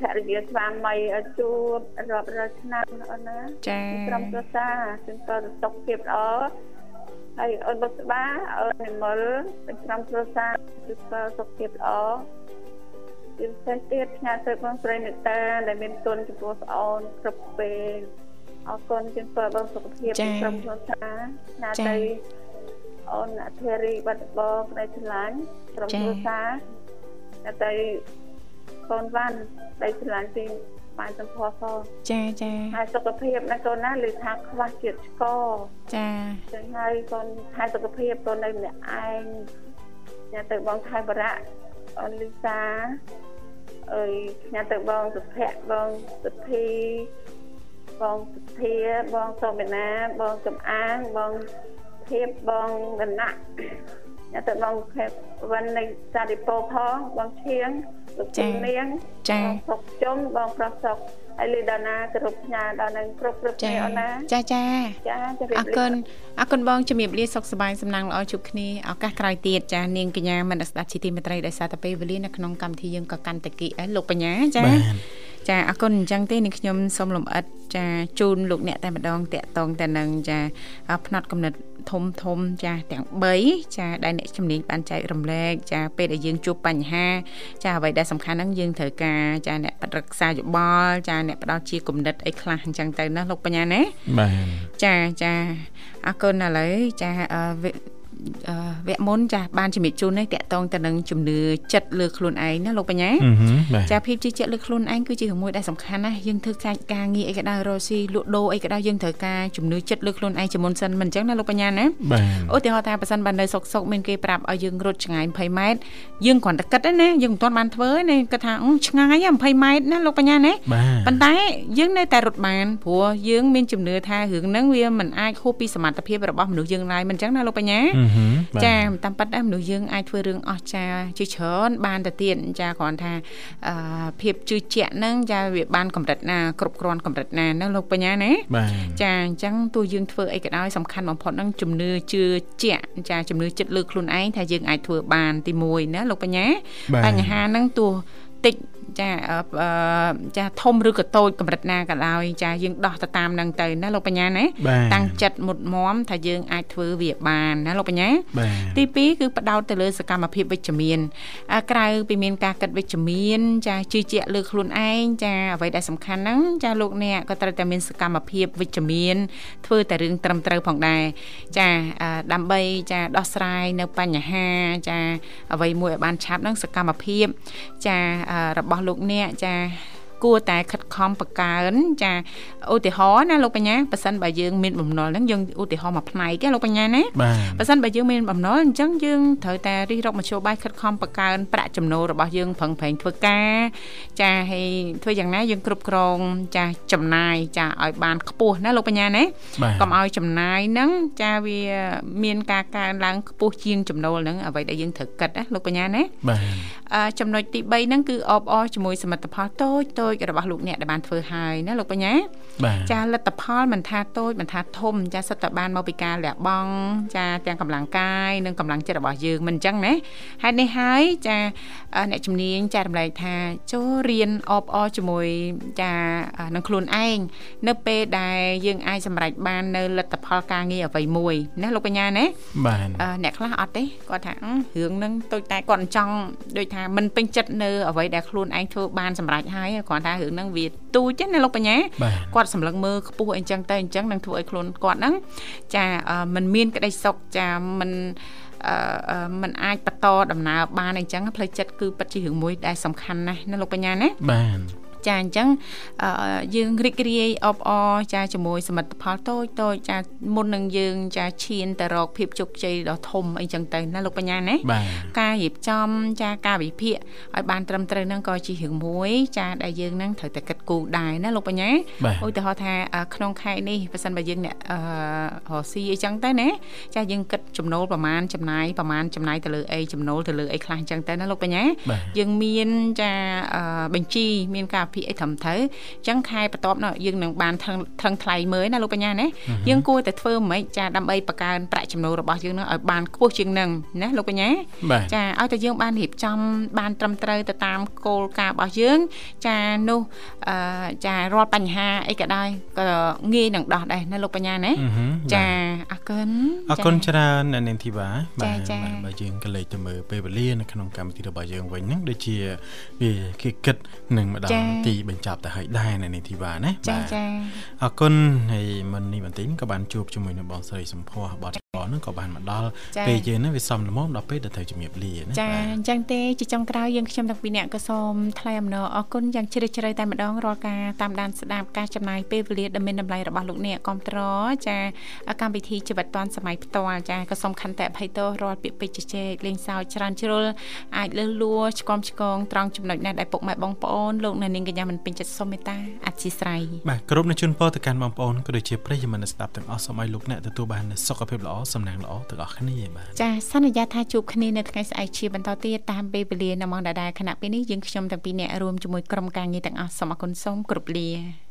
ភរិយាស្វាមីឲ្យជួបរាប់រយឆ្នាំណាអូនណា
ចា
ក្រុមគ្រួសារជូនពរសុខភាពល្អហើយអូនបុស្បាអូននិមលទាំងក្រុមគ្រួសារជូនពរសុខភាពល្អជាពិសេសទៀតផ្ញើទៅបងស្រីមេត្តាដែលមានគុណចំពោះប្អូនគ្រប់ពេលអរគុណជូនពរបងសុខភាព
ចា៎
ទាំងក្រុមគ្រួសារផ្ញើ
ចា៎
ទៅអូនអធិរីបាត់ដបងប្តីឆ្លាញ់ក្រុម
ចា៎
គ្រួសារផ្ញើទៅកូនវ៉ាន់ប្តីឆ្លាញ់ទី បានចំពោះផង
ចាចា
ហើយសុខភាពណាកូនណាឮថាខ្វះជាតិស្ករ
ចា
ចឹងហើយកូនថែសុខភាពកូននៅម្នាក់ឯងញ៉ាំទៅបងថែបរៈអូនលីសាអើយញ៉ាំទៅបងសុភ័ក្របងសុធីបងសុធាបងសុមេណាបងចំអាងបងធៀបបងវណ្ណៈញ៉ាំទៅបងខេបវណ្ណនៃសារិពោផងបងឈៀងលោកជំនាង
ចា
បងសុកជុំបងប្រុសសុកហើយលីដាណាគ្រប់ផ្ញើដល់នឹងគ្រប់គ្រប់
ចា
គ្នាអូនណា
ចាចា
ចាជម្រាប
អរគុណអរគុណបងជំរាបលាសុខសប្បាយសំណាងល្អជួបគ្នាឱកាសក្រោយទៀតចានាងកញ្ញាមនស្សស្ដាប់ជីទីមេត្រីដោយសារតែពេលវេលានៅក្នុងកម្មវិធីយើងក៏កាន់តែគីអីលោកបញ្ញាចា
បាទ
ចាអរគុណអញ្ចឹងទេនាងខ្ញុំសូមលំអិតចាជូនលោកអ្នកតែម្ដងតាក់តងតែនឹងចាផ្នត់កំណត់ធំធំចាទាំង3ចាដែលអ្នកជំនាញបានចែករំលែកចាពេលដែលយើងជួបបញ្ហា ចាអ្វីដែលសំខាន់ហ្នឹងយើងត្រូវការចាអ្នកប្រឹក្សាយោបល់ចាអ្នកផ្ដល់ជាគំនិតអីខ្លះអញ្ចឹងទៅណាលោកបញ្ញាណា
បាទ
ចាចាអរគុណឥឡូវចាអឺវគ្គអឺវគ្គមុនចាបានជំរាបជូននេះតកតងទៅនឹងជំនឿចិត្តលើខ្លួនឯងណាលោកបញ្ញា
អឺហឹមបាទ
ចាភាពជឿជាក់លើខ្លួនឯងគឺជារឿងមួយដែលសំខាន់ណាស់យើងធ្វើកាច់ការងារអីក៏ដោយរកស៊ីលក់ដូរអីក៏ដោយយើងត្រូវការជំនឿចិត្តលើខ្លួនឯងជាមុនសិនមិនអញ្ចឹងណាលោកបញ្ញាណា
បា
ឧ
ទ
ទាហរណ៍ថាប៉ះសិនបាននៅសុកសុកមានគេប្រាប់ឲ្យយើងរត់ឆ្ងាយ20ម៉ែត្រយើងគ្រាន់តែគិតទេណាយើងមិនទាន់បានធ្វើទេណាគិតថាអឺឆ្ងាយហ៎20ម៉ែត្រណាលោកបញ្ញាណា
បាទ
ប៉ុន្តែយើងនៅតែរត់បានព្រោះយើងមានជំនឿថារឿងហ្នឹងវាមិនអាចហួសពីសមត្ថភាពរបស់មនុស្សយើងឡើយមិនអញ្ចឹងណាលោកបញ្ញា
អឺហឹមបាទ
ចាតាមពិតដែរមនុស្សយើងអាចធ្វើរឿងអស្ចារ្យជាច្រើនបានទៅទៀតចាគ្រាន់ថាអឺភាពជឿជាក់ហ្នឹងចាវាបានកម្រិតណាគ្រប់គ្រាន់កម្រិតណាណាលោកបញ្ញាណា
បាទ
ចាអញ្ចឹងទោះយើងធ្វើអីក៏ដោយសំខាន់បំផុតហ្នឹងជំនឿជឿជាក់ចាជំនឿចិត្តលើខ្លួនឯងថាយើងអាចធ្វើបានទី1ណាលោកបញ្ញា
បាទ
បញ្ហាហ្នឹងទោះតិចចាអឺអឺចាធំឬក៏តូចកម្រិតណាក៏ដោយចាយើងដោះទៅតាមហ្នឹងទៅណាលោកបញ្ញាណា
បាទ
តាំងចិត្តមុតមមថាយើងអាចធ្វើវាបានណាលោកបញ្ញា
បាទ
ទី2គឺផ្ដោតទៅលើសកម្មភាពវិជ្ជមានអ่าក្រៅពីមានការគិតវិជ្ជមានចាជឿជាក់លើខ្លួនឯងចាអ្វីដែលសំខាន់ហ្នឹងចាលោកអ្នកក៏ត្រូវតែមានសកម្មភាពវិជ្ជមានធ្វើតែរឿងត្រឹមត្រូវផងដែរចាអ่าដើម្បីចាដោះស្រាយនៅបញ្ហាចាអ្វីមួយឲ្យបានឆាប់ហ្នឹងសកម្មភាពចាអ่าរបស់លោកអ្នកចាគួរតែខិតខំបង្កើនចាឧទាហរណ៍ណាលោកបញ្ញាប៉ះសិនបើយើងមានបំណុលហ្នឹងយើងឧទាហរណ៍មួយផ្នែកទេលោកបញ្ញាណា
បាទ
បើសិនបើយើងមានបំណុលអញ្ចឹងយើងត្រូវតែរិះរកមធ្យោបាយខិតខំបង្កើនប្រាក់ចំណូលរបស់យើងប្រឹងប្រែងធ្វើការចាហើយធ្វើយ៉ាងណាយើងគ្រប់គ្រងចាចំណាយចាឲ្យបានខ្ពស់ណាលោកបញ្ញាណា
បាទ
កុំឲ្យចំណាយហ្នឹងចាវាមានការកើនឡើងខ្ពស់ជាងចំណូលហ្នឹងអ្វីដែលយើងត្រូវគិតណាលោកបញ្ញាណា
បាទ
អឺចំណុចទី3ហ្នឹងគឺអបអរជាមួយសមិទ្ធផលតូចតូចៗរបស់លោកអ្នកដែលបានធ្វើហើយណាលោកបញ្ញា
បាទ
ចាលទ្ធផលមិនថាតូចមិនថាធំចាសិតតែបានមកពីការលះបង់ចាទាំងកម្លាំងកាយនិងកម្លាំងចិត្តរបស់យើងមិនអញ្ចឹងណាហេតុនេះហើយចាអឺអ្នកជំនាញចារំលែកថាចូលរៀនអបអរជាមួយចាអឺនឹងខ្លួនឯងនៅពេលដែលយើងអាចសម្រេចបាននៅលទ្ធផលការងារអ្វីមួយណាលោកបញ្ញាណា
បាទ
អឺអ្នកខ្លះអត់ទេគាត់ថាអឺរឿងហ្នឹងតូចតែគាត់មិនចង់ដូចថាមិនពេញចិត្តនៅអ្វីដែលខ្លួនឯងធ្វើបានសម្រេចហើយគ្រាន់ថារឿងហ្នឹងវាទូចទេណាលោកបញ្ញា
បាទ
គាត់សម្លឹងមើលខ្ពស់អីចឹងទៅអញ្ចឹងនឹងធ្វើឲ្យខ្លួនគាត់ហ្នឹងចាអឺมันមានក្តីសុខចាมันអឺអឺมันអាចបន្តដំណើរបានអីចឹងផ្លូវចិត្តគឺពិតជារឿងមួយដែលសំខាន់ណាស់ណាលោកបញ្ញាណា
បាទ
ចាអញ្ចឹងអឺយើងរីករាយអបអរចាជាមួយសមិទ្ធផលតូចតូចចាមុននឹងយើងចាឈានទៅរកភាពជោគជ័យដ៏ធំអីចឹងទៅណាលោកបញ្ញាណា
បាទ
ការរៀបចំចាការវិភាគឲ្យបានត្រឹមត្រូវហ្នឹងក៏ជារឿងមួយចាដែលយើងហ្នឹងត្រូវតែគិតគូរដែរណាលោកបញ្ញា
បាទ
ឧទាហរណ៍ថាអឺក្នុងខែនេះបើសិនបើយើងអ្នកអឺរកស៊ីអីចឹងទៅណាចាយើងគិតចំណូលប្រមាណចំណាយប្រមាណចំណាយទៅលើអីចំណូលទៅលើអីខ្លះអញ្ចឹងទៅណាលោកបញ្ញា
បាទ
យើងមានចាអឺបញ្ជីមានការអភិអីត្រឹមត្រូវអញ្ចឹងខែបន្ទាប់នោះយើងនឹងបានថឹងថឹងថ្លៃមើលណាលោកបញ្ញាណាយើងគួរតែធ្វើមិនខ្មិចចាដើម្បីបង្កើនប្រាក់ចំណូលរបស់យើងនឹងឲ្យបានខ្ពស់ជាងនឹងណាលោកបញ្ញា
បាទ
ចាឲ្យតែយើងបានរៀបចំបានត្រឹមត្រូវទៅតាមគោលការណ៍របស់យើងចានោះអឺចារាល់បញ្ហាអីក៏ដោយក៏ងាយនឹងដោះដែរណាលោកបញ្ញាណា
អឺហឹមបាទ
ចាអរគុណ
អរគុណច្រើនអ្នកនាងធីវ៉ា
ចា
បាទ
ចា
បាទបើយើងក៏លេចទៅមើលពេលវេលានៅក្នុងកម្មវិធីរបស់យើងវិញហ្នឹងដូចជាវាគេគិតនឹងម្ដងទីបញ្ចប់ទៅហើយដែរអ្នកនាងធីវ៉ាណា
ចា
បាទ
ចា
អរគុណហើយមុននេះបន្តិចក៏បានជួបជាមួយនឹងបងស្រីសំភ័សបាទ ហ្នឹងក៏បានមកដល់
ចា៎
ពេលយើងហ្នឹងវាសំល្មមដល់ពេលដែលត្រូវជំរាបលាណា
ចា
បាទ
អញ្ចឹងទេជាចុងក្រោយយើងខ្ញុំទាំងពីរអ្នកក៏សូមថ្លែងអំណរអរគុណយ៉ាងជ្រាលជ្រៅតែម្ដងរាល់ការតាមដានស្ដាប់ការចំណាយពេលវេលាដ៏មានតម្លៃរបស់លោកអ្នកគ្រប់ត្រចាកម្មវិធីជីវិតឌွန်សម័យផ្ទាល់ចាក៏សូមខន្តិអភ័យទោសរាល់ពាក្យពេចន៍ជជែកលេងសើចច្រើនជ្រុលអាចលើសលួឆ្កំឆ្កងត្រង់ចំណុចណាដែលពុកម៉ែបងប្អូនលោកអ្នកនាងកញ្ញាមិនពេញចិត្តសូមមេត្តាអធិស្ឋាន
បាទគ្រប់នឹងជូនពរទៅកាន់បងប្អូនក៏ដូចជាប្រិយមិត្តអ្នកស្ដាប់ទាំងអស់សូមឲ្យលោកអ្នកទទួលបាននូវសុខភាពល្អសំណាងល្អទាំងអស់គ្នាបាទ
ចាសសន្យាថាជួបគ្នានៅថ្ងៃស្អែកជាបន្តទៀតតាមពេលវេលានៅម៉ោងដដែលខណៈពេលនេះយើងខ្ញុំទាំងពីរនាក់រួមជាមួយក្រុមការងារទាំងអស់សូមអរគុណសូមគោរពលា